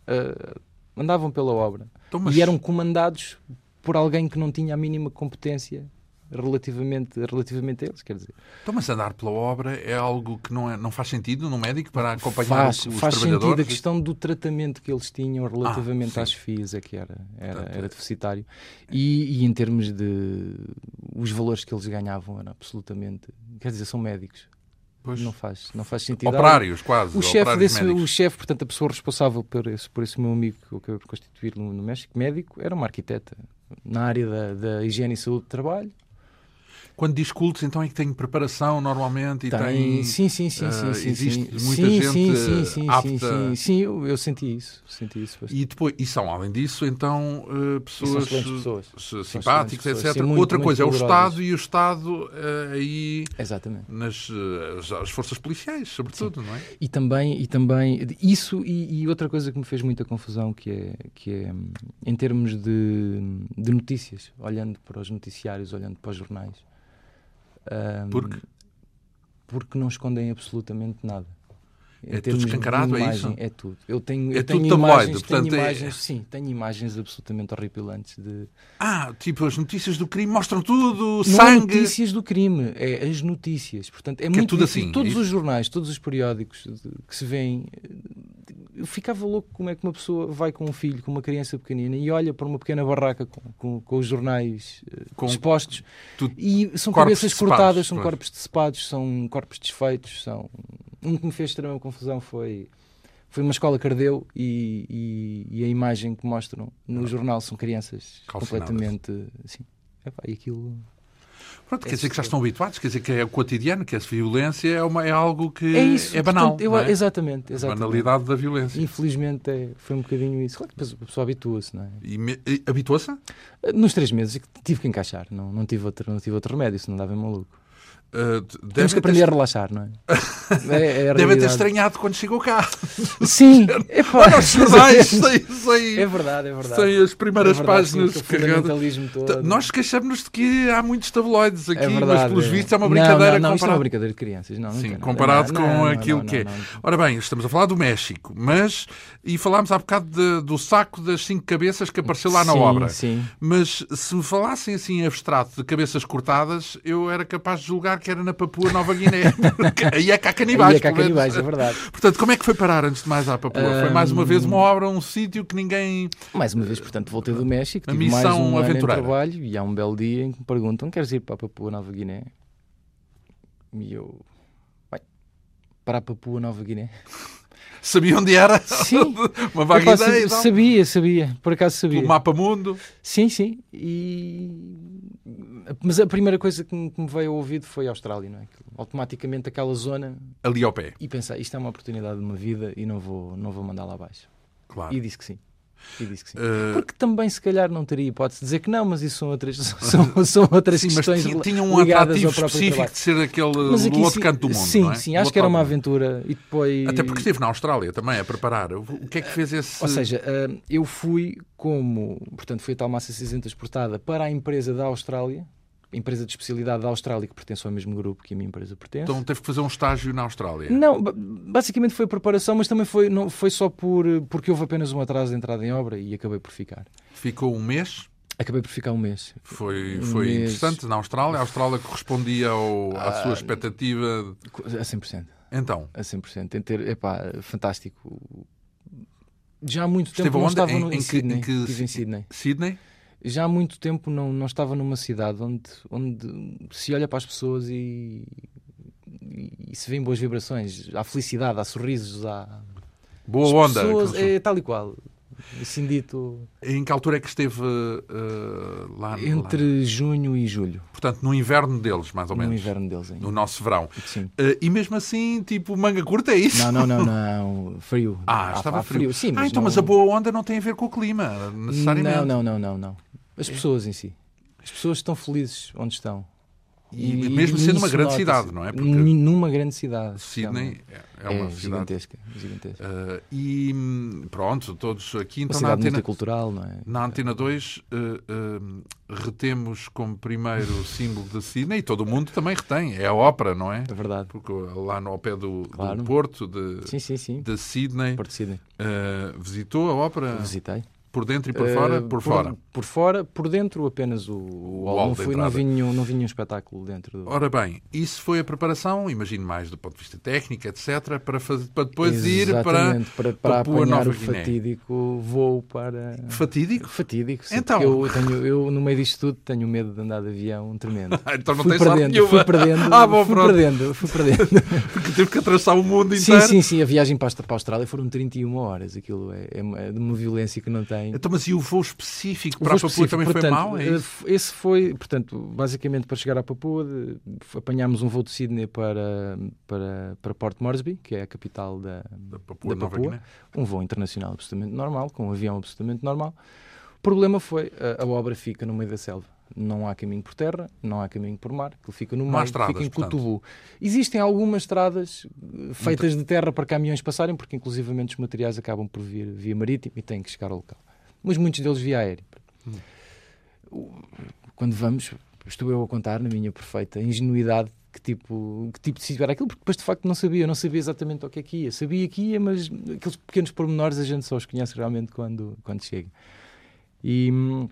[SPEAKER 2] ah, andavam pela obra
[SPEAKER 1] Então, mas-
[SPEAKER 2] e um- eram comandados por alguém que não tinha a mínima competência relativamente, relativamente a eles, quer dizer.
[SPEAKER 1] Então, mas andar pela obra é algo que não, é, não faz sentido no médico para acompanhar
[SPEAKER 2] Faz,
[SPEAKER 1] os
[SPEAKER 2] faz sentido a
[SPEAKER 1] trabalhadores? Ah,
[SPEAKER 2] questão do tratamento que eles tinham relativamente
[SPEAKER 1] sim.
[SPEAKER 2] às FIIs, é que era, era,
[SPEAKER 1] Portanto,
[SPEAKER 2] era deficitário. E, e em termos de. Os valores que eles ganhavam eram absolutamente. Quer dizer, são médicos.
[SPEAKER 1] Pois.
[SPEAKER 2] Não faz, não faz sentido.
[SPEAKER 1] Operários, quase.
[SPEAKER 2] O chefe,
[SPEAKER 1] operários
[SPEAKER 2] desse,
[SPEAKER 1] médicos.
[SPEAKER 2] o chefe, portanto, a pessoa responsável por esse, por esse meu amigo que eu acabei por constituir no, no México, médico, era uma arquiteta na área da, da higiene e saúde do trabalho.
[SPEAKER 1] Quando diz cultos, então é que tem preparação normalmente e tem.
[SPEAKER 2] sim, sim, sim,
[SPEAKER 1] ah,
[SPEAKER 2] sim, sim,
[SPEAKER 1] existe
[SPEAKER 2] sim.
[SPEAKER 1] muita
[SPEAKER 2] sim,
[SPEAKER 1] gente,
[SPEAKER 2] sim,
[SPEAKER 1] eh,
[SPEAKER 2] sim, sim,
[SPEAKER 1] apta-
[SPEAKER 2] sim, sim, sim, eu, eu senti isso, senti isso bastante.
[SPEAKER 1] E, depois, e são, além disso, então, eh,
[SPEAKER 2] E são
[SPEAKER 1] pessoas,
[SPEAKER 2] excelentes pessoas.
[SPEAKER 1] s- simpáticas,
[SPEAKER 2] pessoas,
[SPEAKER 1] etc.
[SPEAKER 2] sim, muito,
[SPEAKER 1] Outra
[SPEAKER 2] muito
[SPEAKER 1] coisa é o
[SPEAKER 2] valorosas.
[SPEAKER 1] Estado e o Estado eh, aí
[SPEAKER 2] Exatamente.
[SPEAKER 1] nas eh, as- as forças policiais, sobretudo, não é?
[SPEAKER 2] E também, e também isso e, e outra coisa que me fez muita confusão que é, que é hum, em termos de, de notícias, olhando para os noticiários, olhando para os jornais. hum,
[SPEAKER 1] Porque
[SPEAKER 2] Porque não escondem absolutamente nada.
[SPEAKER 1] É
[SPEAKER 2] Em
[SPEAKER 1] tudo
[SPEAKER 2] termos de
[SPEAKER 1] escancarado, é
[SPEAKER 2] imagem,
[SPEAKER 1] isso?
[SPEAKER 2] É tudo. Eu tenho,
[SPEAKER 1] É
[SPEAKER 2] eu tenho
[SPEAKER 1] tudo tabloide,
[SPEAKER 2] imagens,
[SPEAKER 1] portanto, é-
[SPEAKER 2] tenho imagens, sim, tenho imagens absolutamente horripilantes de
[SPEAKER 1] Ah, tipo, as notícias do crime mostram tudo,
[SPEAKER 2] Não é
[SPEAKER 1] sangue.
[SPEAKER 2] notícias do crime, é as notícias. Portanto, é
[SPEAKER 1] é
[SPEAKER 2] muito
[SPEAKER 1] tudo
[SPEAKER 2] difícil.
[SPEAKER 1] assim,
[SPEAKER 2] Todos
[SPEAKER 1] isso?
[SPEAKER 2] os jornais, todos os periódicos de- que se vêem. eh, Eu ficava louco como é que uma pessoa vai com um filho, com uma criança pequenina e olha para uma pequena barraca com, com- com os jornais eh,
[SPEAKER 1] Com-
[SPEAKER 2] expostos
[SPEAKER 1] tudo-
[SPEAKER 2] e
[SPEAKER 1] corpos
[SPEAKER 2] são cabeças
[SPEAKER 1] decepados,
[SPEAKER 2] cortadas, são
[SPEAKER 1] pois.
[SPEAKER 2] corpos decepados, são corpos desfeitos. São... Um que me fez extrema confusão foi. Foi uma escola que ardeu e, e- e a imagem que mostram no jornal são crianças
[SPEAKER 1] Calcinadas.
[SPEAKER 2] completamente assim. Epá, e aquilo
[SPEAKER 1] Pronto, quer
[SPEAKER 2] É
[SPEAKER 1] dizer que já
[SPEAKER 2] assustador.
[SPEAKER 1] estão habituados, quer dizer que é o cotidiano, que essa violência é, uma, é algo que
[SPEAKER 2] É isso.
[SPEAKER 1] banal.
[SPEAKER 2] portanto, eu-
[SPEAKER 1] não é?
[SPEAKER 2] Exatamente,
[SPEAKER 1] A
[SPEAKER 2] exatamente.
[SPEAKER 1] banalidade da violência.
[SPEAKER 2] Infelizmente é- foi um bocadinho isso. Claro que depois a pessoa habitua-se, não é?
[SPEAKER 1] E, me- e habitua-se?
[SPEAKER 2] Nos três meses é que tive que encaixar, não, não, tive, outro, não tive outro remédio, senão dava em maluco.
[SPEAKER 1] Ah, d-
[SPEAKER 2] Temos que
[SPEAKER 1] devem ter-
[SPEAKER 2] aprender a relaxar, não é?
[SPEAKER 1] Devem
[SPEAKER 2] é, é a
[SPEAKER 1] ter
[SPEAKER 2] realidade.
[SPEAKER 1] estranhado quando chegou cá.
[SPEAKER 2] Sim, é pá.
[SPEAKER 1] Olha os jornais, sem, sem,
[SPEAKER 2] É verdade, é verdade.
[SPEAKER 1] sem as primeiras
[SPEAKER 2] é verdade,
[SPEAKER 1] páginas
[SPEAKER 2] sim, aquele
[SPEAKER 1] carregadas.
[SPEAKER 2] fundamentalismo todo.
[SPEAKER 1] Nós queixamos-nos de que há muitos tabloides aqui,
[SPEAKER 2] é verdade,
[SPEAKER 1] mas pelos
[SPEAKER 2] é.
[SPEAKER 1] vistos é uma
[SPEAKER 2] Não,
[SPEAKER 1] brincadeira
[SPEAKER 2] Não, não, isto é uma
[SPEAKER 1] comparada-
[SPEAKER 2] brincadeira de crianças. Não, não
[SPEAKER 1] Sim,
[SPEAKER 2] tem nada.
[SPEAKER 1] comparado
[SPEAKER 2] Não,
[SPEAKER 1] com
[SPEAKER 2] não,
[SPEAKER 1] aquilo
[SPEAKER 2] não,
[SPEAKER 1] que é.
[SPEAKER 2] não, não.
[SPEAKER 1] Ora bem, estamos a falar do México, mas. E falámos há bocado de- do saco das cinco cabeças que apareceu lá na
[SPEAKER 2] Sim,
[SPEAKER 1] obra.
[SPEAKER 2] Sim,
[SPEAKER 1] Mas se me falassem assim em abstrato de cabeças cortadas, eu era capaz de julgar que era na Papua Nova Guiné. Porque aí é cá canibais.
[SPEAKER 2] Aí é cá
[SPEAKER 1] pelo menos.
[SPEAKER 2] canibais, é verdade.
[SPEAKER 1] Portanto, como é que foi parar antes de mais à Papua? Foi mais uma vez uma obra, um sítio que ninguém.
[SPEAKER 2] Mais uma vez, portanto, voltei do México,
[SPEAKER 1] a
[SPEAKER 2] tive mais
[SPEAKER 1] missão
[SPEAKER 2] um ano em
[SPEAKER 1] aventureira.
[SPEAKER 2] trabalho e há um belo dia em que me perguntam queres ir para a Papua Nova Guiné? E eu, bem, para a Papua Nova Guiné?
[SPEAKER 1] Sabia onde era?
[SPEAKER 2] Sim,
[SPEAKER 1] uma
[SPEAKER 2] Eu
[SPEAKER 1] vaga
[SPEAKER 2] posso-
[SPEAKER 1] ideia. e tal.
[SPEAKER 2] sabia, sabia, por acaso
[SPEAKER 1] O
[SPEAKER 2] sabia.
[SPEAKER 1] então? mapa mundo.
[SPEAKER 2] Sim, sim, e... Mas a primeira coisa que me que me veio ao ouvido foi a Austrália, não é? Aquilo- Automaticamente aquela zona
[SPEAKER 1] Ali ao pé,
[SPEAKER 2] e pensei, isto é uma oportunidade de uma vida e não vou, não vou mandar lá abaixo.
[SPEAKER 1] claro.
[SPEAKER 2] E disse que sim. E disse que sim.
[SPEAKER 1] Eh,
[SPEAKER 2] Porque também, se calhar, não teria hipótese de dizer que não, mas isso são outras, são, são outras
[SPEAKER 1] Sim, mas
[SPEAKER 2] questões.
[SPEAKER 1] tinha,
[SPEAKER 2] li-
[SPEAKER 1] tinha um
[SPEAKER 2] ligadas
[SPEAKER 1] atrativo
[SPEAKER 2] ao próprio
[SPEAKER 1] específico
[SPEAKER 2] trabalho.
[SPEAKER 1] de ser aquele
[SPEAKER 2] Mas
[SPEAKER 1] do
[SPEAKER 2] aqui
[SPEAKER 1] outro
[SPEAKER 2] sim-
[SPEAKER 1] canto do mundo.
[SPEAKER 2] Sim,
[SPEAKER 1] não é?
[SPEAKER 2] sim,
[SPEAKER 1] Do
[SPEAKER 2] acho
[SPEAKER 1] outro
[SPEAKER 2] que era uma
[SPEAKER 1] lado do mundo.
[SPEAKER 2] aventura. E depois.
[SPEAKER 1] Até porque esteve na Austrália também a preparar. O o que é que fez esse.
[SPEAKER 2] Ou seja, hum, eu fui como. Portanto, fui a tal massa cinzenta exportada para a empresa da Austrália, empresa de especialidade da Austrália, que pertence ao mesmo grupo que a minha empresa pertence.
[SPEAKER 1] Então teve que fazer um estágio na Austrália.
[SPEAKER 2] Não, ba- basicamente foi a preparação, mas também foi, não, foi só por, porque houve apenas um atraso de entrada em obra e acabei por ficar.
[SPEAKER 1] Ficou um mês.
[SPEAKER 2] Acabei por ficar um mês.
[SPEAKER 1] Foi,
[SPEAKER 2] Um
[SPEAKER 1] foi
[SPEAKER 2] mês. Ah,
[SPEAKER 1] interessante na Austrália. A Austrália correspondia ao- à sua expectativa.
[SPEAKER 2] co- A 100%.
[SPEAKER 1] Então,
[SPEAKER 2] a 100%. Em ter, epá, fantástico. Já há muito
[SPEAKER 1] Esteve
[SPEAKER 2] tempo não
[SPEAKER 1] onde?
[SPEAKER 2] estava
[SPEAKER 1] Em-
[SPEAKER 2] no,
[SPEAKER 1] em
[SPEAKER 2] em,
[SPEAKER 1] que-
[SPEAKER 2] Sydney.
[SPEAKER 1] em que
[SPEAKER 2] Estive em
[SPEAKER 1] ci-
[SPEAKER 2] Sydney.
[SPEAKER 1] Sydney?
[SPEAKER 2] Já há muito tempo não, não estava numa cidade onde, onde se olha para as pessoas e, e se vêem boas vibrações. Há felicidade, há sorrisos, há. as
[SPEAKER 1] Boa onda.
[SPEAKER 2] pessoas,
[SPEAKER 1] aquele-
[SPEAKER 2] é tal e qual. Assim dito,
[SPEAKER 1] Em que altura é que esteve eh, lá, lá?
[SPEAKER 2] entre junho e julho,
[SPEAKER 1] Portanto, no inverno deles, mais ou
[SPEAKER 2] no
[SPEAKER 1] menos.
[SPEAKER 2] inverno deles ainda.
[SPEAKER 1] No nosso verão.
[SPEAKER 2] Sim.
[SPEAKER 1] Eh, e mesmo assim, tipo, manga curta é isso?
[SPEAKER 2] Não, não, não, não, frio.
[SPEAKER 1] Ah,
[SPEAKER 2] Há-
[SPEAKER 1] estava
[SPEAKER 2] há
[SPEAKER 1] frio.
[SPEAKER 2] Sim,
[SPEAKER 1] ah,
[SPEAKER 2] mas
[SPEAKER 1] então,
[SPEAKER 2] não-
[SPEAKER 1] mas a boa onda não tem a ver com o clima, necessariamente.
[SPEAKER 2] Não, não, não, não, não. As pessoas em si. As pessoas estão felizes onde estão.
[SPEAKER 1] E mesmo sendo uma
[SPEAKER 2] isso
[SPEAKER 1] grande
[SPEAKER 2] nota-se.
[SPEAKER 1] cidade, não é? Porque-
[SPEAKER 2] N- Numa grande cidade.
[SPEAKER 1] Sydney é, é uma
[SPEAKER 2] é
[SPEAKER 1] cidade.
[SPEAKER 2] gigantesca. gigantesca.
[SPEAKER 1] Eh, e hum, pronto, todos aqui.
[SPEAKER 2] Uma
[SPEAKER 1] Então, na
[SPEAKER 2] cidade
[SPEAKER 1] antena,
[SPEAKER 2] multicultural, não é?
[SPEAKER 1] Na Antena 2 eh, eh, retemos como primeiro o símbolo de Sydney e todo o mundo também retém. É a ópera, não é?
[SPEAKER 2] É verdade.
[SPEAKER 1] Porque lá no, ao pé do, do
[SPEAKER 2] Claro.
[SPEAKER 1] Porto de,
[SPEAKER 2] Sim, sim, sim.
[SPEAKER 1] de Sydney
[SPEAKER 2] Porto de Sydney.
[SPEAKER 1] eh, visitou a ópera.
[SPEAKER 2] Visitei.
[SPEAKER 1] Por dentro e por fora?
[SPEAKER 2] Eh,
[SPEAKER 1] Por, fora.
[SPEAKER 2] Por fora, por dentro apenas o, o,
[SPEAKER 1] hall
[SPEAKER 2] hall. Não,
[SPEAKER 1] de
[SPEAKER 2] fui, não,
[SPEAKER 1] entrada.
[SPEAKER 2] vi nenhum, não vi nenhum espetáculo dentro do.
[SPEAKER 1] Ora bem, isso foi a preparação, imagino mais do ponto de vista técnico, etc., para, fazer, para depois ir para
[SPEAKER 2] Exatamente, para, para
[SPEAKER 1] Papua
[SPEAKER 2] apanhar
[SPEAKER 1] Nova
[SPEAKER 2] o
[SPEAKER 1] Guiné.
[SPEAKER 2] fatídico voo para.
[SPEAKER 1] fatídico.
[SPEAKER 2] Fatídico, sim,
[SPEAKER 1] Então.
[SPEAKER 2] porque eu, tenho, eu no meio disto tudo tenho medo de andar de avião um tremendo.
[SPEAKER 1] Ah, então não
[SPEAKER 2] fui
[SPEAKER 1] tens sorte
[SPEAKER 2] perdendo, fui
[SPEAKER 1] nenhuma,
[SPEAKER 2] perdendo,
[SPEAKER 1] Ah, bom,
[SPEAKER 2] fui
[SPEAKER 1] pronto.
[SPEAKER 2] perdendo, fui perdendo.
[SPEAKER 1] porque teve que atravessar o mundo
[SPEAKER 2] sim,
[SPEAKER 1] inteiro.
[SPEAKER 2] sim, sim, a viagem para a Austra- para a Austrália foram 31 horas, aquilo é, é de uma violência que não tem.
[SPEAKER 1] Então, mas e o voo específico
[SPEAKER 2] O
[SPEAKER 1] para a
[SPEAKER 2] voo
[SPEAKER 1] Papua
[SPEAKER 2] específico,
[SPEAKER 1] também foi
[SPEAKER 2] portanto,
[SPEAKER 1] mau? É
[SPEAKER 2] eh,
[SPEAKER 1] isso?
[SPEAKER 2] f- Esse foi, portanto, basicamente para chegar à Papua, de- f- apanhámos um voo de Sydney para, para, para Port Moresby, que é a capital da,
[SPEAKER 1] Da Papua,
[SPEAKER 2] da
[SPEAKER 1] Nova
[SPEAKER 2] Papua.
[SPEAKER 1] Guiné.
[SPEAKER 2] um voo internacional absolutamente normal, com um avião absolutamente normal. O problema foi, a, a obra fica no meio da selva. Não há caminho por terra, não há caminho por mar, que fica no
[SPEAKER 1] Não há
[SPEAKER 2] mar,
[SPEAKER 1] estradas,
[SPEAKER 2] fica em
[SPEAKER 1] portanto.
[SPEAKER 2] Cotobu. Existem algumas estradas eh, feitas de terra para caminhões passarem, porque inclusivamente os materiais acabam por vir via marítimo e têm que chegar ao local. Mas muitos deles via aéreo.
[SPEAKER 1] Hum.
[SPEAKER 2] O- Quando vamos, estou eu a contar na minha perfeita ingenuidade que tipo, que tipo de sítio era aquilo, porque depois de facto não sabia, eu não sabia exatamente o que é que ia. Sabia que ia, mas aqueles pequenos pormenores a gente só os conhece realmente quando, quando chega. E, hum,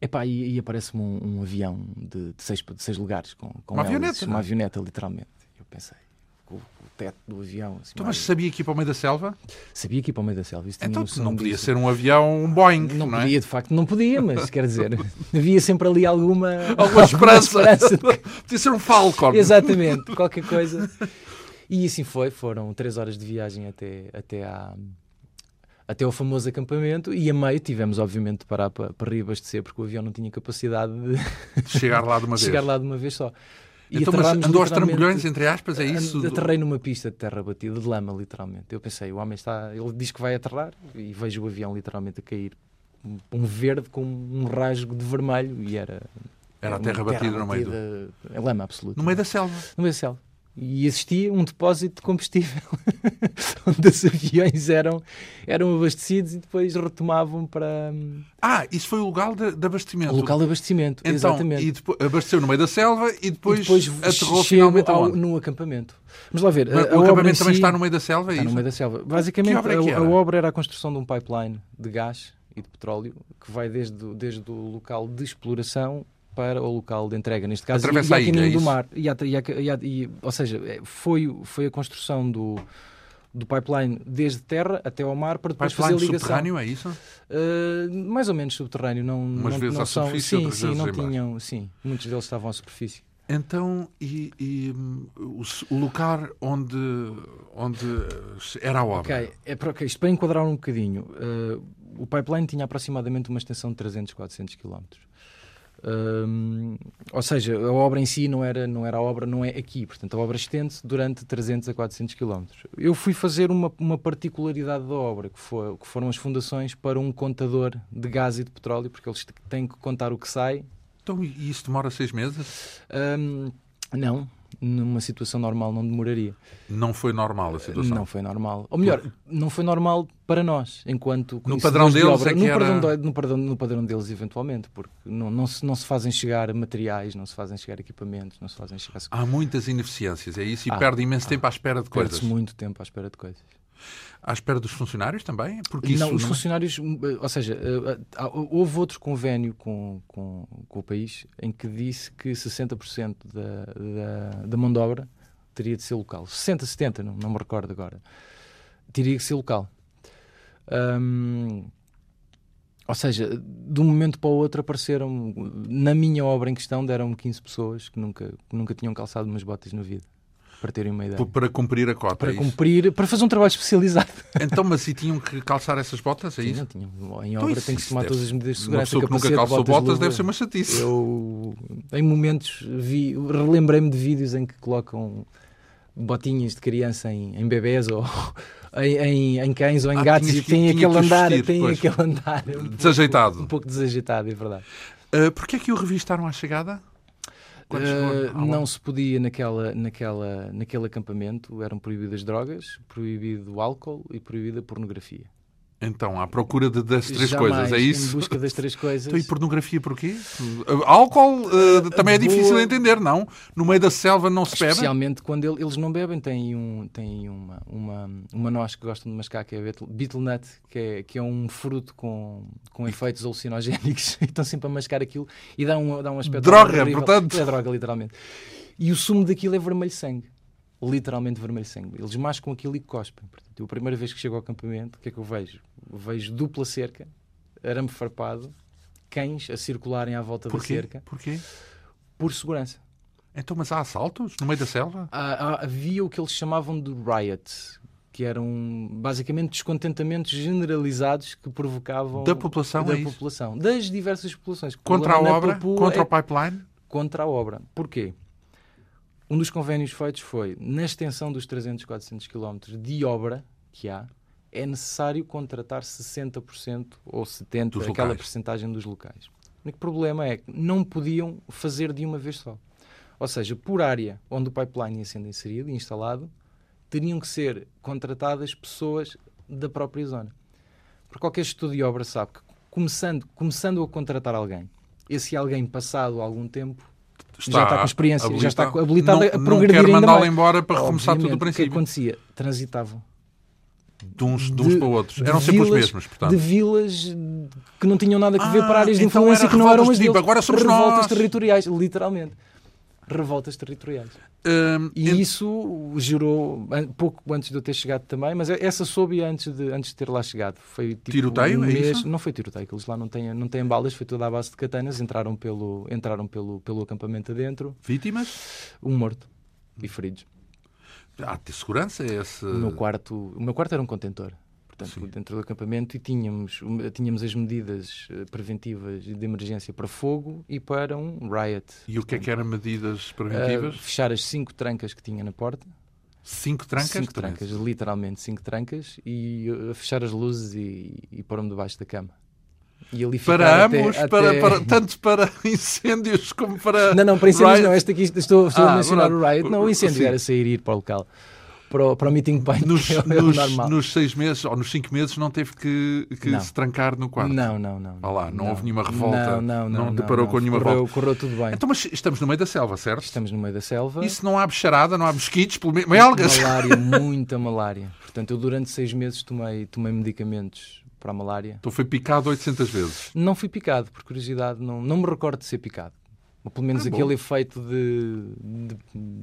[SPEAKER 2] epá, e, e aparece-me um, um avião de, de seis, de seis lugares com, com
[SPEAKER 1] Uma
[SPEAKER 2] hélices,
[SPEAKER 1] avioneta, não é?
[SPEAKER 2] uma avioneta, literalmente. Eu pensei, com o teto do avião, assim,
[SPEAKER 1] Então,
[SPEAKER 2] mais-
[SPEAKER 1] mas sabia que ia para o meio da selva?
[SPEAKER 2] sabia que ia para o meio da selva. isso tinha
[SPEAKER 1] Então,
[SPEAKER 2] noção
[SPEAKER 1] não podia
[SPEAKER 2] disso.
[SPEAKER 1] ser um avião, um Boeing, não,
[SPEAKER 2] Não,
[SPEAKER 1] é?
[SPEAKER 2] podia, de facto, não podia, mas quer dizer, havia sempre ali alguma,
[SPEAKER 1] Alguma esperança.
[SPEAKER 2] esperança de que-
[SPEAKER 1] Podia ser um Falcon.
[SPEAKER 2] Exatamente, qualquer coisa. E assim foi, foram três horas de viagem até, até, à, até ao famoso acampamento e a meio tivemos obviamente de parar para, para reabastecer porque o avião não tinha capacidade de
[SPEAKER 1] Chegar lá de uma vez.
[SPEAKER 2] chegar lá de uma vez só. E
[SPEAKER 1] Então, mas
[SPEAKER 2] aterrámos
[SPEAKER 1] andou aos
[SPEAKER 2] literalmente- Eh,
[SPEAKER 1] trambolhões, entre aspas, é isso?
[SPEAKER 2] Ande- Aterrei numa pista de terra batida, de lama, literalmente. Eu pensei, o homem está. Ele diz que vai aterrar e vejo o avião literalmente a cair. Um- Um verde com um rasgo de vermelho e era.
[SPEAKER 1] Era a
[SPEAKER 2] uma
[SPEAKER 1] terra batida no meio do...
[SPEAKER 2] batida, é lama absoluta.
[SPEAKER 1] No meio da selva.
[SPEAKER 2] No meio do céu. E existia um depósito de combustível onde os aviões eram, eram abastecidos e depois retomavam para hum,
[SPEAKER 1] Ah, isso foi o lugar de, de abastecimento.
[SPEAKER 2] o local de abastecimento.
[SPEAKER 1] Então,
[SPEAKER 2] exatamente.
[SPEAKER 1] E depois, abasteceu no meio da selva e depois,
[SPEAKER 2] E depois
[SPEAKER 1] aterrou
[SPEAKER 2] chego
[SPEAKER 1] finalmente
[SPEAKER 2] ao,
[SPEAKER 1] aonde?
[SPEAKER 2] num acampamento. Vamos lá ver. a-
[SPEAKER 1] Mas O
[SPEAKER 2] a obra em
[SPEAKER 1] acampamento também
[SPEAKER 2] si-
[SPEAKER 1] está no meio da selva, é
[SPEAKER 2] Está no
[SPEAKER 1] isso?
[SPEAKER 2] meio da selva. Basicamente,
[SPEAKER 1] Que obra é que
[SPEAKER 2] a,
[SPEAKER 1] era?
[SPEAKER 2] a obra era a construção de um pipeline de gás e de petróleo que vai desde, o- desde o local de exploração para o local de entrega, neste caso, e-
[SPEAKER 1] Atravessa a
[SPEAKER 2] e,
[SPEAKER 1] ilha,
[SPEAKER 2] a
[SPEAKER 1] é
[SPEAKER 2] caminho do
[SPEAKER 1] isso?
[SPEAKER 2] mar. E a- e a- e a- e- ou seja, é, foi, o- foi a construção do, do pipeline desde terra até ao mar para depois
[SPEAKER 1] Pipeline
[SPEAKER 2] fazer a ligação.
[SPEAKER 1] subterrâneo, é isso?
[SPEAKER 2] Uh, mais ou menos subterrâneo, não,
[SPEAKER 1] Umas
[SPEAKER 2] não,
[SPEAKER 1] vezes
[SPEAKER 2] não
[SPEAKER 1] à
[SPEAKER 2] são.
[SPEAKER 1] superfície,
[SPEAKER 2] sim,
[SPEAKER 1] outras
[SPEAKER 2] sim,
[SPEAKER 1] vezes
[SPEAKER 2] não
[SPEAKER 1] em baixo.
[SPEAKER 2] tinham, sim, muitos deles estavam à superfície.
[SPEAKER 1] Então, e, e, hum, o, s- o lugar onde, onde era a obra?
[SPEAKER 2] Ok, é para, ok, isto para enquadrar um bocadinho, eh, o pipeline tinha aproximadamente uma extensão de 300, 400 quilómetros. Hum, ou seja, a obra em si não era, não era a obra, não é aqui, portanto a obra estende-se durante 300 a 400 quilómetros. Eu fui fazer uma, uma particularidade da obra, que, foi, que foram as fundações para um contador de gás e de petróleo, porque eles têm que contar o que sai
[SPEAKER 1] Então, e isso demora seis meses?
[SPEAKER 2] Hum, não, numa situação normal não demoraria.
[SPEAKER 1] Não foi normal a situação?
[SPEAKER 2] Não foi normal. Ou melhor, não foi normal para nós, enquanto
[SPEAKER 1] No
[SPEAKER 2] conhecedores
[SPEAKER 1] padrão
[SPEAKER 2] de
[SPEAKER 1] deles
[SPEAKER 2] obra.
[SPEAKER 1] é que
[SPEAKER 2] no,
[SPEAKER 1] era-
[SPEAKER 2] padrão, de- no, padrão, no padrão deles, eventualmente, porque não, não, se, não se fazem chegar materiais, não se fazem chegar equipamentos, não se fazem chegar.
[SPEAKER 1] Há muitas ineficiências, é isso, e
[SPEAKER 2] Ah,
[SPEAKER 1] perde imenso tempo à espera de coisas.
[SPEAKER 2] Perde-se muito tempo à espera de coisas.
[SPEAKER 1] À espera dos funcionários também? Porque isso é-
[SPEAKER 2] não, os funcionários, hum, eh, ou seja, eh, há- houve outro convênio com, com, com o país em que disse que 60% da, da, da mão de obra teria de ser local. 60, 70, não, não me recordo agora. Teria que ser local. Hum, ou seja, de um momento para o outro apareceram, na minha obra em questão, deram-me 15 pessoas que nunca, que nunca tinham calçado umas botas na vida, para terem uma ideia.
[SPEAKER 1] P- Para cumprir a cota,
[SPEAKER 2] Para
[SPEAKER 1] é isso?
[SPEAKER 2] cumprir, para fazer um trabalho especializado.
[SPEAKER 1] Então, mas e tinham que calçar essas botas, é
[SPEAKER 2] Sim,
[SPEAKER 1] isso?
[SPEAKER 2] não tinha. Em
[SPEAKER 1] Então,
[SPEAKER 2] obra
[SPEAKER 1] isso-
[SPEAKER 2] tem que se
[SPEAKER 1] isso
[SPEAKER 2] tomar
[SPEAKER 1] deve-
[SPEAKER 2] todas as medidas de
[SPEAKER 1] Uma
[SPEAKER 2] segurança.
[SPEAKER 1] pessoa que nunca
[SPEAKER 2] capacete,
[SPEAKER 1] calçou botas,
[SPEAKER 2] luva.
[SPEAKER 1] deve ser uma chatice.
[SPEAKER 2] Eu, em momentos, vi, relembrei-me de vídeos em que colocam botinhas de criança em, em bebés ou em, em- em cães ou em
[SPEAKER 1] Ah,
[SPEAKER 2] gatos
[SPEAKER 1] tinhas
[SPEAKER 2] e
[SPEAKER 1] que-
[SPEAKER 2] tem
[SPEAKER 1] tinha que
[SPEAKER 2] aquele
[SPEAKER 1] os
[SPEAKER 2] andar,
[SPEAKER 1] vestir,
[SPEAKER 2] tem
[SPEAKER 1] pois.
[SPEAKER 2] aquele andar um pouco-
[SPEAKER 1] Desajeitado.
[SPEAKER 2] um pouco desajeitado, é verdade.
[SPEAKER 1] Ah, Porquê é que o revistaram à chegada? Quando
[SPEAKER 2] Eh,
[SPEAKER 1] chegou à
[SPEAKER 2] não
[SPEAKER 1] obra?
[SPEAKER 2] se podia naquela, naquela, naquele acampamento, eram proibidas drogas, proibido o álcool e proibida a pornografia.
[SPEAKER 1] Então, à procura de- das três
[SPEAKER 2] Jamais,
[SPEAKER 1] coisas, é
[SPEAKER 2] Em
[SPEAKER 1] isso?
[SPEAKER 2] busca das três coisas.
[SPEAKER 1] Então, e pornografia porquê? Uh, Álcool uh, também é
[SPEAKER 2] boa-
[SPEAKER 1] difícil de entender, não? No meio da selva não se bebe?
[SPEAKER 2] Especialmente quando ele- eles não bebem. Tem, um, tem uma, uma, uma nós que gostam de mascar, que é a betel- betel nut, que é, que é um fruto com, com efeitos alucinogénicos. E estão sempre a mascar aquilo e dá um, dá um aspecto.
[SPEAKER 1] Droga,
[SPEAKER 2] horrível.
[SPEAKER 1] portanto.
[SPEAKER 2] É droga, literalmente. E o sumo daquilo é vermelho sangue. Literalmente vermelho sangue. Eles mascam aquilo e cospem. Portanto, eu, a primeira vez que chego ao acampamento, o que é que eu vejo? Vejo dupla cerca, arame farpado, cães a circularem à volta da
[SPEAKER 1] Porquê?
[SPEAKER 2] cerca,
[SPEAKER 1] Porquê?
[SPEAKER 2] por segurança.
[SPEAKER 1] Então, mas há assaltos no meio da selva?
[SPEAKER 2] Há- há- Ah, havia o que eles chamavam de riot, que eram basicamente descontentamentos generalizados que provocavam
[SPEAKER 1] Da população,
[SPEAKER 2] da
[SPEAKER 1] é isso?
[SPEAKER 2] população, das diversas populações.
[SPEAKER 1] Contra a
[SPEAKER 2] Na
[SPEAKER 1] obra?
[SPEAKER 2] Papua
[SPEAKER 1] Contra
[SPEAKER 2] é
[SPEAKER 1] o pipeline?
[SPEAKER 2] contra a obra. Porquê? Um dos convénios feitos foi, na extensão dos 300, 400 quilómetros de obra que há, é necessário contratar 60% ou 70%,
[SPEAKER 1] Dos
[SPEAKER 2] aquela
[SPEAKER 1] locais.
[SPEAKER 2] percentagem dos locais. O único problema é que não podiam fazer de uma vez só. Ou seja, por área onde o pipeline ia sendo inserido e instalado, teriam que ser contratadas pessoas da própria zona. Porque qualquer estudo de obra sabe que, começando, começando a contratar alguém, esse alguém passado algum tempo já está com experiência, já está
[SPEAKER 1] habilita-
[SPEAKER 2] habilitado a
[SPEAKER 1] não,
[SPEAKER 2] progredir
[SPEAKER 1] Não quero
[SPEAKER 2] ainda
[SPEAKER 1] mandá-lo
[SPEAKER 2] mais.
[SPEAKER 1] embora para recomeçar tudo do
[SPEAKER 2] Obviamente, O que
[SPEAKER 1] princípio.
[SPEAKER 2] acontecia? Transitavam.
[SPEAKER 1] De uns, de uns
[SPEAKER 2] de-
[SPEAKER 1] para outros.
[SPEAKER 2] de
[SPEAKER 1] Eram sempre os
[SPEAKER 2] vilas-
[SPEAKER 1] mesmos, portanto.
[SPEAKER 2] De vilas eh, que não tinham nada a ver
[SPEAKER 1] Ah,
[SPEAKER 2] para áreas de
[SPEAKER 1] então
[SPEAKER 2] influência
[SPEAKER 1] era
[SPEAKER 2] que não eram
[SPEAKER 1] revoltas
[SPEAKER 2] as
[SPEAKER 1] de tipo,
[SPEAKER 2] deles.
[SPEAKER 1] agora somos
[SPEAKER 2] Revoltas
[SPEAKER 1] nós.
[SPEAKER 2] territoriais, literalmente. Revoltas territoriais.
[SPEAKER 1] Hum,
[SPEAKER 2] E
[SPEAKER 1] ent-
[SPEAKER 2] isso gerou, an- pouco antes de eu ter chegado também, mas essa soube antes de, antes de ter lá chegado. Foi tipo
[SPEAKER 1] Tiroteio,
[SPEAKER 2] um
[SPEAKER 1] é
[SPEAKER 2] mês-
[SPEAKER 1] isso?
[SPEAKER 2] Não foi tiroteio, que eles lá não têm, não têm balas, foi toda à base de catanas, entraram pelo, entraram pelo, pelo acampamento adentro,
[SPEAKER 1] Vítimas?
[SPEAKER 2] um morto e feridos.
[SPEAKER 1] Há de ter segurança? é Esse...
[SPEAKER 2] O meu quarto, o meu quarto era um contentor, portanto, dentro do acampamento e tínhamos, um- tínhamos as medidas eh, preventivas de emergência para fogo e para um riot.
[SPEAKER 1] E o que é que eram medidas
[SPEAKER 2] Eh,
[SPEAKER 1] preventivas?
[SPEAKER 2] fechar as cinco trancas que tinha na porta,
[SPEAKER 1] Cinco trancas?
[SPEAKER 2] cinco
[SPEAKER 1] Teresa?
[SPEAKER 2] trancas, literalmente cinco trancas e eh, fechar as luzes e, e pôr-me debaixo da cama. E ali ficar
[SPEAKER 1] Para
[SPEAKER 2] até-
[SPEAKER 1] ambos,
[SPEAKER 2] até-
[SPEAKER 1] para, para- tanto para incêndios como para.
[SPEAKER 2] Não, não, para incêndios
[SPEAKER 1] riot.
[SPEAKER 2] não, este aqui estou, estou
[SPEAKER 1] Ah,
[SPEAKER 2] a mencionar
[SPEAKER 1] pronto.
[SPEAKER 2] o riot, não, o incêndio
[SPEAKER 1] Sim.
[SPEAKER 2] era sair e ir para o local, para o, para o meeting point,
[SPEAKER 1] Nos,
[SPEAKER 2] que é o
[SPEAKER 1] nos-
[SPEAKER 2] normal.
[SPEAKER 1] nos seis meses ou nos cinco meses não teve que, que
[SPEAKER 2] Não.
[SPEAKER 1] se trancar no quarto.
[SPEAKER 2] Não, não, não.
[SPEAKER 1] Ah lá, não houve nenhuma revolta,
[SPEAKER 2] Não, não,
[SPEAKER 1] não
[SPEAKER 2] não.
[SPEAKER 1] deparou com nenhuma
[SPEAKER 2] correu, Correu tudo bem.
[SPEAKER 1] Então, mas estamos no meio da selva, certo?
[SPEAKER 2] Estamos no meio da selva.
[SPEAKER 1] Isso assim. não há bicharada, não há mosquitos, pelo menos. é Melgas!
[SPEAKER 2] Malária, muita malária. Portanto, eu durante seis meses tomei, tomei medicamentos para a malária.
[SPEAKER 1] Então foi picado 800 vezes.
[SPEAKER 2] Não fui picado, por curiosidade, não, não me recordo de ser picado. Ou pelo menos
[SPEAKER 1] Ah, bom.
[SPEAKER 2] aquele efeito de, de-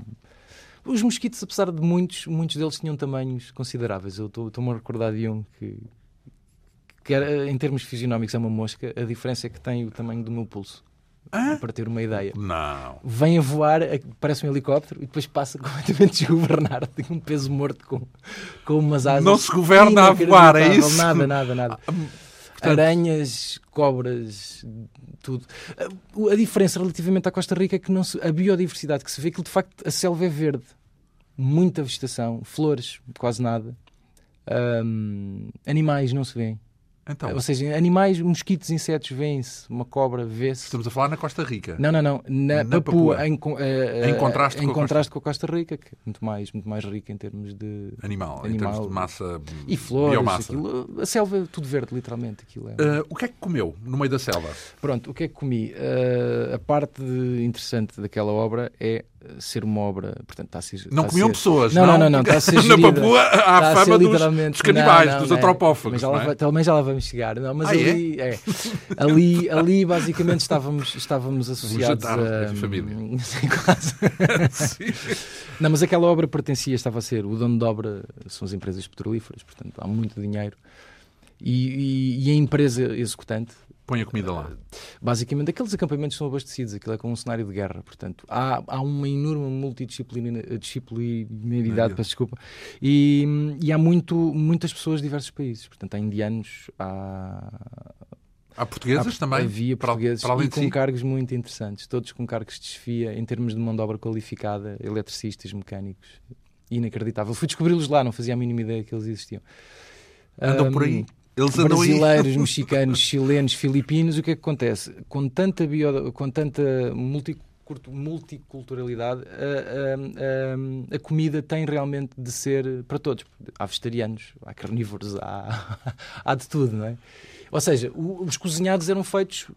[SPEAKER 2] Os mosquitos, apesar de muitos, muitos deles tinham tamanhos consideráveis. Eu estou- estou-me a recordar de um que, que era, em termos fisionómicos, é uma mosca. A diferença é que tem o tamanho do meu pulso.
[SPEAKER 1] Hã?
[SPEAKER 2] Para ter uma ideia.
[SPEAKER 1] Não.
[SPEAKER 2] vem a voar, a- parece um helicóptero, e depois passa completamente desgovernado, tem um peso morto com, com umas asas.
[SPEAKER 1] Não se governa a voar, é isso? Ah,
[SPEAKER 2] Nada, nada, nada. Aranhas, cobras, tudo. A- o- A diferença relativamente à Costa Rica é que não se, a biodiversidade que se vê, que de facto a selva é verde. Muita vegetação, flores, quase nada. Ahm, animais não se vêem.
[SPEAKER 1] Então,
[SPEAKER 2] Ou seja, animais, mosquitos, insetos, vêem-se. Uma cobra vê-se.
[SPEAKER 1] estamos a falar na Costa Rica.
[SPEAKER 2] Não, não, não. Na,
[SPEAKER 1] Na
[SPEAKER 2] Papua,
[SPEAKER 1] Papua.
[SPEAKER 2] Em, con- eh,
[SPEAKER 1] Em
[SPEAKER 2] eh,
[SPEAKER 1] contraste
[SPEAKER 2] em
[SPEAKER 1] com a
[SPEAKER 2] contraste com a Costa Rica, que é muito mais, muito mais rica em termos de.
[SPEAKER 1] Animal, em
[SPEAKER 2] Animal.
[SPEAKER 1] termos de massa.
[SPEAKER 2] E flores,
[SPEAKER 1] biomassa.
[SPEAKER 2] aquilo. A selva, é tudo verde, literalmente. Aquilo é.
[SPEAKER 1] Ah, o que é que comeu no meio da selva?
[SPEAKER 2] Pronto, o que é que comi? Eh, a parte de- interessante daquela obra é eh, ser uma obra. Portanto, está a ser.
[SPEAKER 1] Não
[SPEAKER 2] está a
[SPEAKER 1] comiam
[SPEAKER 2] ser-
[SPEAKER 1] pessoas,
[SPEAKER 2] Não,
[SPEAKER 1] não?
[SPEAKER 2] não, não, não, está a ser
[SPEAKER 1] Na
[SPEAKER 2] gerida.
[SPEAKER 1] Papua há
[SPEAKER 2] Está
[SPEAKER 1] a
[SPEAKER 2] a
[SPEAKER 1] fama
[SPEAKER 2] ser
[SPEAKER 1] dos,
[SPEAKER 2] literalmente-
[SPEAKER 1] dos canibais,
[SPEAKER 2] Não, não,
[SPEAKER 1] dos
[SPEAKER 2] não é.
[SPEAKER 1] antropófagos.
[SPEAKER 2] Mas já lá
[SPEAKER 1] não é?
[SPEAKER 2] vai- também já lá vamos chegar. Não, mas
[SPEAKER 1] Ah, é?
[SPEAKER 2] ali, é? ali, ali, basicamente, estávamos, estávamos associados
[SPEAKER 1] Um jantar
[SPEAKER 2] a.
[SPEAKER 1] de família.
[SPEAKER 2] Sim, quase.
[SPEAKER 1] Sim.
[SPEAKER 2] Não, mas aquela obra pertencia, estava a ser, o dono da obra são as empresas petrolíferas, portanto há muito dinheiro. E, e- e a empresa executante,
[SPEAKER 1] Põe a comida lá.
[SPEAKER 2] basicamente, aqueles acampamentos são abastecidos, aquilo é como um cenário de guerra, portanto há, há uma enorme multidisciplina- disciplinaridade, peço desculpa, e, e há muito, muitas pessoas de diversos países, portanto há indianos, há,
[SPEAKER 1] Há portuguesas
[SPEAKER 2] Há-
[SPEAKER 1] também?
[SPEAKER 2] Havia
[SPEAKER 1] Para-
[SPEAKER 2] portugueses
[SPEAKER 1] para além
[SPEAKER 2] e
[SPEAKER 1] de
[SPEAKER 2] com
[SPEAKER 1] si?
[SPEAKER 2] cargos muito interessantes, todos com cargos de desfia em termos de mão de obra qualificada, eletricistas, mecânicos. Inacreditável. Fui descobri-los lá, não fazia a mínima ideia que eles existiam.
[SPEAKER 1] Andam por
[SPEAKER 2] Ahm,
[SPEAKER 1] aí. Eles andam aí.
[SPEAKER 2] Brasileiros, mexicanos, chilenos, filipinos, o que é que acontece? Com tanta, bio, com tanta multi- curto multiculturalidade, a, a, a, a comida tem realmente de ser para todos. Há vegetarianos, há carnívoros, há, há de tudo, não é? Ou seja, o, os cozinhados eram feitos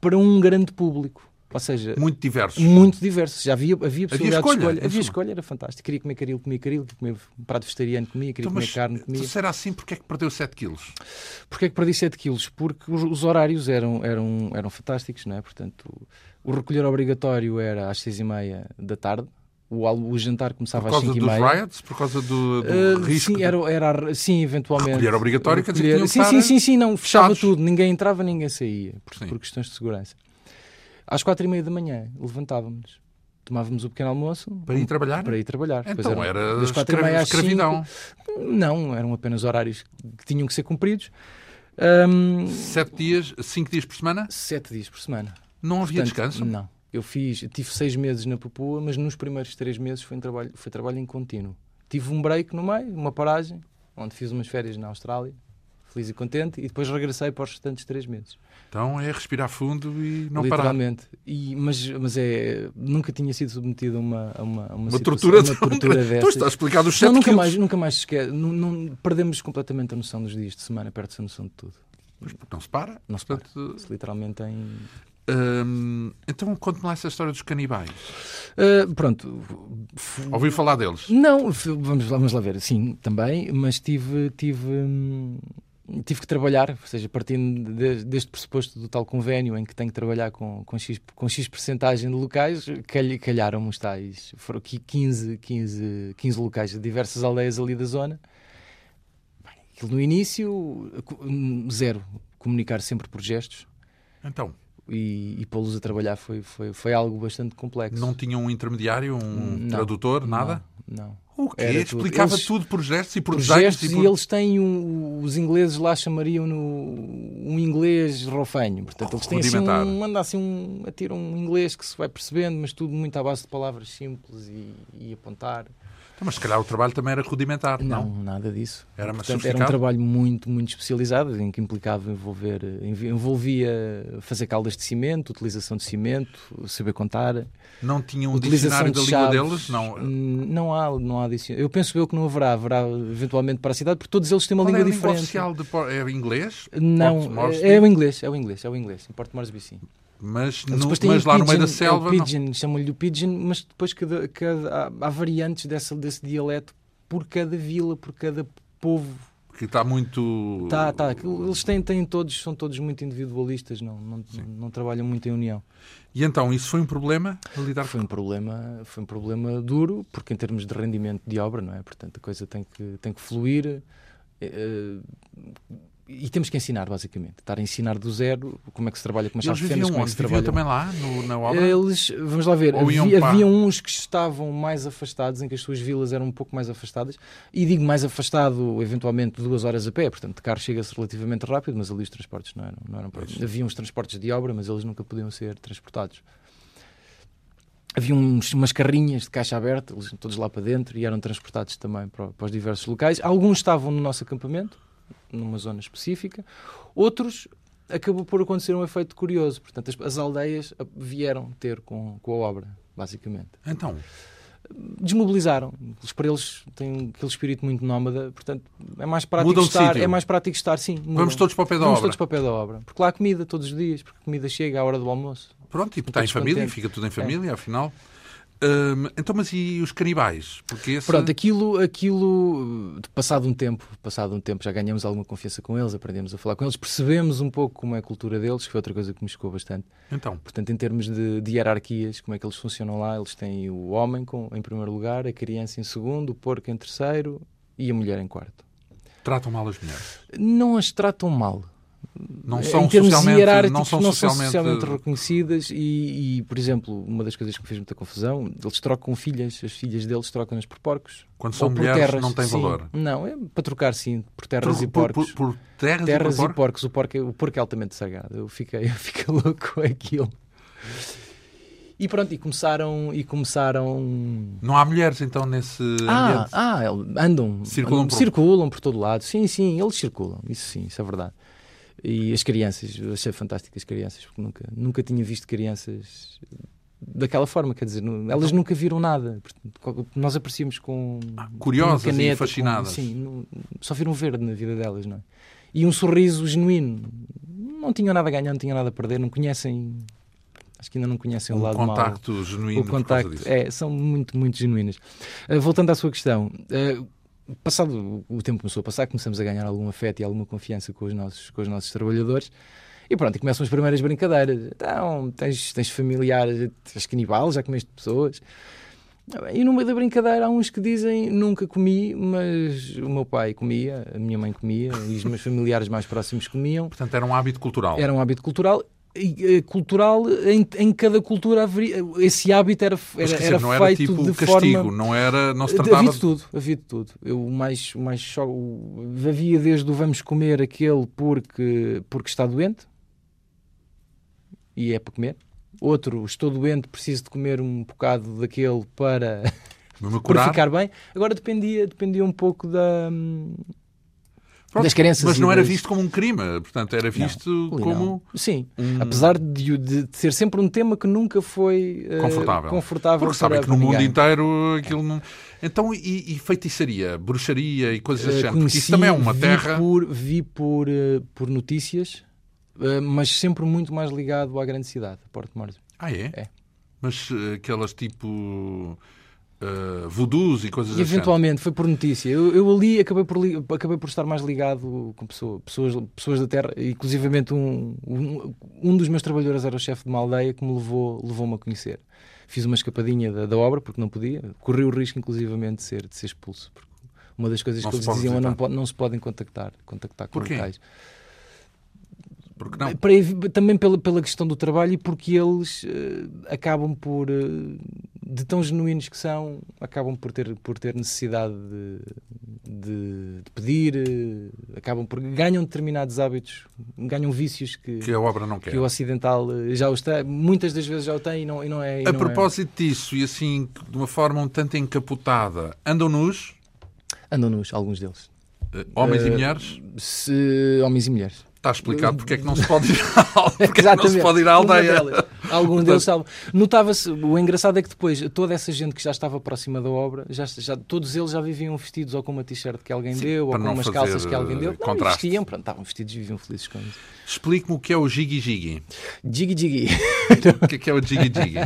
[SPEAKER 2] para um grande público. Ou seja,
[SPEAKER 1] Muito diversos.
[SPEAKER 2] muito diversos. Já havia, havia possibilidade
[SPEAKER 1] escolha,
[SPEAKER 2] de escolha.
[SPEAKER 1] em
[SPEAKER 2] Havia
[SPEAKER 1] suma.
[SPEAKER 2] escolha, era fantástico. Queria comer caril, comia caril. Queria comer um prato vegetariano, comia. Queria
[SPEAKER 1] Então,
[SPEAKER 2] comer carne, comia.
[SPEAKER 1] então, se era assim, porque é que perdeu 7 quilos?
[SPEAKER 2] Porquê é que perdi 7 quilos? Porque os, os horários eram, eram, eram fantásticos, não é? Portanto, o, o recolher obrigatório era às 6 e meia da tarde, o, al- o jantar começava
[SPEAKER 1] Por
[SPEAKER 2] às
[SPEAKER 1] causa
[SPEAKER 2] 5 e
[SPEAKER 1] dos
[SPEAKER 2] meia.
[SPEAKER 1] riots? Por causa do, do
[SPEAKER 2] Ah,
[SPEAKER 1] risco?
[SPEAKER 2] sim,
[SPEAKER 1] de-
[SPEAKER 2] era, era, sim, eventualmente.
[SPEAKER 1] Recolher obrigatório, quer dizer que
[SPEAKER 2] Recolher-
[SPEAKER 1] tinham que
[SPEAKER 2] sim,
[SPEAKER 1] estar
[SPEAKER 2] sim, sim, sim, não, fechava
[SPEAKER 1] fechados.
[SPEAKER 2] tudo, ninguém entrava, ninguém saía, por,
[SPEAKER 1] Sim.
[SPEAKER 2] por questões de segurança. Às quatro e meia da manhã levantávamos-nos, tomávamos o pequeno almoço
[SPEAKER 1] Para ir trabalhar?
[SPEAKER 2] para ir trabalhar. Depois
[SPEAKER 1] Então
[SPEAKER 2] eram
[SPEAKER 1] era
[SPEAKER 2] das quatro e
[SPEAKER 1] escra-
[SPEAKER 2] meia às cinco.
[SPEAKER 1] escravidão.
[SPEAKER 2] Não, eram apenas horários que tinham que ser cumpridos. Ahm,
[SPEAKER 1] Sete dias, cinco dias por semana,
[SPEAKER 2] sete dias por semana.
[SPEAKER 1] não havia
[SPEAKER 2] Portanto,
[SPEAKER 1] é descanso.
[SPEAKER 2] Não. Eu fiz, tive seis meses na Papua, mas nos primeiros três meses foi um trabalho, foi trabalho em contínuo. Tive um break no meio, uma paragem, onde fiz umas férias na Austrália, feliz e contente, e depois regressei para os restantes três meses.
[SPEAKER 1] Então é respirar fundo e não parar.
[SPEAKER 2] literalmente. E, mas mas é, nunca tinha sido submetido a uma, a uma, a uma,
[SPEAKER 1] Uma
[SPEAKER 2] situação-
[SPEAKER 1] tortura,
[SPEAKER 2] a uma tortura
[SPEAKER 1] Então
[SPEAKER 2] dessas.
[SPEAKER 1] está explicado os
[SPEAKER 2] Não,
[SPEAKER 1] 7
[SPEAKER 2] nunca
[SPEAKER 1] quilos.
[SPEAKER 2] mais, nunca mais se esquece. Não, não- perdemos completamente a noção dos dias de semana, perde-se a noção de tudo.
[SPEAKER 1] Mas porque não se para.
[SPEAKER 2] Não se para.
[SPEAKER 1] Portanto,
[SPEAKER 2] Se literalmente em,
[SPEAKER 1] hum, então conte-me lá essa história dos canibais. Eh,
[SPEAKER 2] Ah, pronto, f-
[SPEAKER 1] Ouviu falar deles?
[SPEAKER 2] Não, f- vamos lá, vamos lá ver, sim, também, mas tive, tive, hum, tive que trabalhar, ou seja, partindo de- deste pressuposto do tal convênio em que tenho que trabalhar com, com, X, com X percentagem de locais, calh- calharam os tais, foram aqui 15, 15, 15 locais de diversas aldeias ali da zona. Bem, aquilo no início, co- hum, zero, comunicar sempre por gestos
[SPEAKER 1] Então,
[SPEAKER 2] e, e pô-los a trabalhar foi, foi, foi algo bastante complexo.
[SPEAKER 1] não tinha um intermediário, um
[SPEAKER 2] Não.
[SPEAKER 1] tradutor, nada?
[SPEAKER 2] Não. não.
[SPEAKER 1] O quê?
[SPEAKER 2] Era tudo.
[SPEAKER 1] Explicava
[SPEAKER 2] Eles-
[SPEAKER 1] tudo por gestos e por,
[SPEAKER 2] por
[SPEAKER 1] desenhos
[SPEAKER 2] gestos
[SPEAKER 1] e
[SPEAKER 2] e,
[SPEAKER 1] por...
[SPEAKER 2] eles têm um, os ingleses lá chamariam no um inglês rofanho portanto eles têm assim
[SPEAKER 1] Rudimentar.
[SPEAKER 2] um, anda assim um atira um inglês que se vai percebendo mas tudo muito à base de palavras simples e, e apontar
[SPEAKER 1] Então, mas se calhar o trabalho também era rudimentar, não?
[SPEAKER 2] nada disso
[SPEAKER 1] Era mais
[SPEAKER 2] portanto, era um
[SPEAKER 1] sofisticado?
[SPEAKER 2] trabalho muito muito especializado em que implicava envolver envi- envolvia fazer caldas de cimento utilização de cimento saber contar
[SPEAKER 1] Não tinha um
[SPEAKER 2] utilização
[SPEAKER 1] dicionário da
[SPEAKER 2] de
[SPEAKER 1] língua deles?
[SPEAKER 2] chaves.
[SPEAKER 1] Não.
[SPEAKER 2] Hum, não há não há dicionário. eu penso eu que não haverá haverá eventualmente para a cidade porque todos eles têm uma
[SPEAKER 1] Qual é
[SPEAKER 2] língua
[SPEAKER 1] a língua
[SPEAKER 2] diferente
[SPEAKER 1] oficial de Por- é inglês, Porto
[SPEAKER 2] Não,
[SPEAKER 1] Moresby?
[SPEAKER 2] é, é o inglês, é o inglês, é o inglês, em Porto Moresby sim.
[SPEAKER 1] mas,
[SPEAKER 2] Eles
[SPEAKER 1] no-
[SPEAKER 2] depois têm
[SPEAKER 1] mas
[SPEAKER 2] o
[SPEAKER 1] lá no meio da
[SPEAKER 2] pidgin, é
[SPEAKER 1] selva.
[SPEAKER 2] o
[SPEAKER 1] não.
[SPEAKER 2] pidgin, chamam-lhe o pidgin, mas depois cada, cada- há, há variantes dessa, desse dialeto por cada vila, por cada povo.
[SPEAKER 1] que está muito.
[SPEAKER 2] Tá, tá, aquilo- eles têm, têm todos, são todos muito individualistas, não, não, não trabalham muito em união.
[SPEAKER 1] E então, isso foi um problema a lidar
[SPEAKER 2] Foi um problema, foi um problema duro, porque em termos de rendimento de obra, não é? Portanto, a coisa tem que tem que fluir. eh, e temos que ensinar, basicamente. Estar a ensinar do zero como é que se trabalha com as
[SPEAKER 1] Eles
[SPEAKER 2] chaves
[SPEAKER 1] viviam
[SPEAKER 2] pequenas, como é que
[SPEAKER 1] onde?
[SPEAKER 2] se
[SPEAKER 1] Viviam
[SPEAKER 2] trabalha.
[SPEAKER 1] também lá, no- na obra?
[SPEAKER 2] Eles, vamos lá ver,
[SPEAKER 1] Ou iam
[SPEAKER 2] havia,
[SPEAKER 1] para-
[SPEAKER 2] havia uns que estavam mais afastados, em que as suas vilas eram um pouco mais afastadas, e digo mais afastado, eventualmente, duas horas a pé, portanto, de carro chega-se relativamente rápido, mas ali os transportes não eram. Não eram
[SPEAKER 1] Pois.
[SPEAKER 2] havia uns transportes de obra, mas eles nunca podiam ser transportados. Havia uns, umas carrinhas de caixa aberta, eles iam todos lá para dentro, e eram transportados também para, para os diversos locais. Alguns estavam no nosso acampamento, numa zona específica, outros acabou por acontecer um efeito curioso. Portanto, as, as aldeias ah, vieram ter com, com a obra, basicamente.
[SPEAKER 1] Então,
[SPEAKER 2] Desmobilizaram. Os para eles têm aquele espírito muito nómada, portanto, é mais prático
[SPEAKER 1] Mudam de
[SPEAKER 2] estar.
[SPEAKER 1] sítio.
[SPEAKER 2] É mais prático estar, sim. mudam.
[SPEAKER 1] vamos todos para o pé da
[SPEAKER 2] Vamos
[SPEAKER 1] obra.
[SPEAKER 2] todos para o pé da obra. Porque lá há comida todos os dias, porque a comida chega à hora do almoço.
[SPEAKER 1] Pronto, e está em
[SPEAKER 2] todos
[SPEAKER 1] família,
[SPEAKER 2] contentes.
[SPEAKER 1] fica tudo em família, afinal. Hum, então, mas e os canibais? Porque esse...
[SPEAKER 2] Pronto, aquilo, aquilo, de passado um tempo, passado um tempo, já ganhamos alguma confiança com eles, aprendemos a falar com eles, percebemos um pouco como é a cultura deles, que foi outra coisa que me chocou bastante.
[SPEAKER 1] Então,
[SPEAKER 2] Portanto, em termos de, de hierarquias, como é que eles funcionam lá? Eles têm o homem com, em primeiro lugar, a criança em segundo, o porco em terceiro e a mulher em quarto.
[SPEAKER 1] tratam mal as mulheres.
[SPEAKER 2] Não as tratam mal.
[SPEAKER 1] Não
[SPEAKER 2] Eh,
[SPEAKER 1] são
[SPEAKER 2] em termos
[SPEAKER 1] socialmente.
[SPEAKER 2] hierárquicos,
[SPEAKER 1] Não são
[SPEAKER 2] socialmente
[SPEAKER 1] socialmente.
[SPEAKER 2] reconhecidas. E, e, por exemplo, uma das coisas que me fez muita confusão, eles trocam filhas, as filhas deles trocam-nas por porcos.
[SPEAKER 1] Quando são
[SPEAKER 2] ou por
[SPEAKER 1] mulheres,
[SPEAKER 2] terras.
[SPEAKER 1] não tem
[SPEAKER 2] Sim.
[SPEAKER 1] valor.
[SPEAKER 2] Não, é para trocar, sim, por terras
[SPEAKER 1] Por,
[SPEAKER 2] e
[SPEAKER 1] por,
[SPEAKER 2] porcos.
[SPEAKER 1] por- por terras,
[SPEAKER 2] terras
[SPEAKER 1] e por,
[SPEAKER 2] e porcos. O porco, é- o porco é altamente sagrado. Eu fiquei, eu fiquei louco com aquilo. E pronto, e começaram. E começaram...
[SPEAKER 1] Não há mulheres, então, nesse
[SPEAKER 2] Ah,
[SPEAKER 1] ambiente.
[SPEAKER 2] ah, el- andam.
[SPEAKER 1] Circulam
[SPEAKER 2] andam-
[SPEAKER 1] por-
[SPEAKER 2] circulam por todo lado. Sim, sim, eles circulam. Isso sim, isso é verdade. E as crianças, eu achei fantásticas as crianças, porque nunca, nunca tinha visto crianças daquela forma, quer dizer, não- elas nunca viram nada. Portanto, co- nós aparecíamos com
[SPEAKER 1] Ah, curiosas
[SPEAKER 2] uma caneta,
[SPEAKER 1] e fascinadas.
[SPEAKER 2] com- um- sim, não- só viram verde na vida delas, não é? E um sorriso genuíno. Não tinham nada a ganhar, não tinham nada a perder, não conhecem. Acho que ainda não conhecem o
[SPEAKER 1] um
[SPEAKER 2] lado mau
[SPEAKER 1] contacto genuíno
[SPEAKER 2] o contacto
[SPEAKER 1] por causa disso.
[SPEAKER 2] é, são muito, muito genuínas. Ah, voltando à sua questão, ah, passado o tempo começou a passar, começamos a ganhar algum afeto e alguma confiança com os nossos, com os nossos trabalhadores. E pronto, e começam as primeiras brincadeiras. Então, tens, tens familiares, tens canibal, já comeste pessoas. Ah, bem, E no meio da brincadeira há uns que dizem nunca comi, mas o meu pai comia, a minha mãe comia e os meus familiares mais próximos comiam.
[SPEAKER 1] Portanto, era um hábito cultural.
[SPEAKER 2] Era um hábito cultural. e, eh, Cultural, em, em cada cultura haveria, esse hábito era, f-
[SPEAKER 1] Mas
[SPEAKER 2] era,
[SPEAKER 1] quer
[SPEAKER 2] era
[SPEAKER 1] dizer, não era
[SPEAKER 2] feito
[SPEAKER 1] tipo
[SPEAKER 2] de
[SPEAKER 1] castigo,
[SPEAKER 2] forma.
[SPEAKER 1] não era, não se
[SPEAKER 2] Havia
[SPEAKER 1] tratava
[SPEAKER 2] de
[SPEAKER 1] de
[SPEAKER 2] tudo, havia de tudo. Eu, o mais, o mais cho- o- havia desde o vamos comer aquele porque, porque está doente e é para comer. Outro, estou doente, preciso de comer um bocado daquele para,
[SPEAKER 1] me
[SPEAKER 2] para
[SPEAKER 1] curar.
[SPEAKER 2] ficar bem. Agora dependia, dependia um pouco da, hum,
[SPEAKER 1] Pronto,
[SPEAKER 2] das crenças
[SPEAKER 1] mas
[SPEAKER 2] e
[SPEAKER 1] não era
[SPEAKER 2] das-
[SPEAKER 1] visto como um crime, portanto, era visto
[SPEAKER 2] Ali
[SPEAKER 1] como
[SPEAKER 2] não. Sim,
[SPEAKER 1] um-
[SPEAKER 2] apesar de, o- de ser sempre um tema que nunca foi eh,
[SPEAKER 1] Confortável.
[SPEAKER 2] confortável
[SPEAKER 1] Porque sabem
[SPEAKER 2] para-
[SPEAKER 1] que no
[SPEAKER 2] para
[SPEAKER 1] mundo
[SPEAKER 2] ninguém.
[SPEAKER 1] inteiro aquilo não. Então, e, e feitiçaria, bruxaria e coisas desse
[SPEAKER 2] Eh,
[SPEAKER 1] género? Porque
[SPEAKER 2] conheci,
[SPEAKER 1] isso também é uma
[SPEAKER 2] vi
[SPEAKER 1] terra.
[SPEAKER 2] Por, vi por, eh, por notícias, eh, mas sempre muito mais ligado à grande cidade, a Porto Mórcio.
[SPEAKER 1] Ah, é?
[SPEAKER 2] É.
[SPEAKER 1] Mas eh, aquelas tipo. eh, voodoos e coisas
[SPEAKER 2] E
[SPEAKER 1] desse género.
[SPEAKER 2] eventualmente foi por notícia. Eu, eu ali acabei por, li- acabei por estar mais ligado com pessoa- pessoas, pessoas da terra, inclusivamente um, um, um dos meus trabalhadores era o chefe de uma aldeia que me levou, levou-me a conhecer. Fiz uma escapadinha da, da obra porque não podia, corri o risco inclusivamente de ser, de ser expulso. Porque uma das coisas
[SPEAKER 1] Não
[SPEAKER 2] que
[SPEAKER 1] se
[SPEAKER 2] eles
[SPEAKER 1] pode
[SPEAKER 2] diziam é não,
[SPEAKER 1] visitar.
[SPEAKER 2] po- não se podem contactar, contactar com
[SPEAKER 1] Porquê?
[SPEAKER 2] locais.
[SPEAKER 1] Porque não.
[SPEAKER 2] Para evi- também pela, pela questão do trabalho e porque eles eh, acabam por, eh, de tão genuínos que são, acabam por ter, por ter necessidade de, de- de pedir, eh, acabam por ganham determinados hábitos, ganham vícios que,
[SPEAKER 1] Que a obra não quer.
[SPEAKER 2] que o ocidental eh, já os tem, muitas das vezes já o tem e não, e não é. e
[SPEAKER 1] A
[SPEAKER 2] não é-
[SPEAKER 1] propósito disso, e assim, de uma forma um tanto encapotada, andam nus,
[SPEAKER 2] Andam nos, alguns deles.
[SPEAKER 1] eh, homens e
[SPEAKER 2] Eh,
[SPEAKER 1] mulheres?
[SPEAKER 2] Se- homens e mulheres.
[SPEAKER 1] Está explicado porque é que não se pode ir à aldeia. Porque é que não
[SPEAKER 2] Exatamente.
[SPEAKER 1] se pode ir à
[SPEAKER 2] Uma
[SPEAKER 1] aldeia.
[SPEAKER 2] delas. Algum deles salvo. Notava-se, o engraçado é que depois toda essa gente que já estava próxima da obra, já, já- todos eles já viviam vestidos ou com uma t-shirt que alguém deu, ou
[SPEAKER 1] para
[SPEAKER 2] com
[SPEAKER 1] não
[SPEAKER 2] umas
[SPEAKER 1] fazer,
[SPEAKER 2] calças que alguém deu.
[SPEAKER 1] eh,
[SPEAKER 2] Não,
[SPEAKER 1] contraste.
[SPEAKER 2] vestiam, pronto, estavam vestidos e viviam felizes com isso.
[SPEAKER 1] Explique-me o que é o Jiggy Jiggy.
[SPEAKER 2] Jiggy Jiggy.
[SPEAKER 1] O que é que é o Jiggy Jiggy?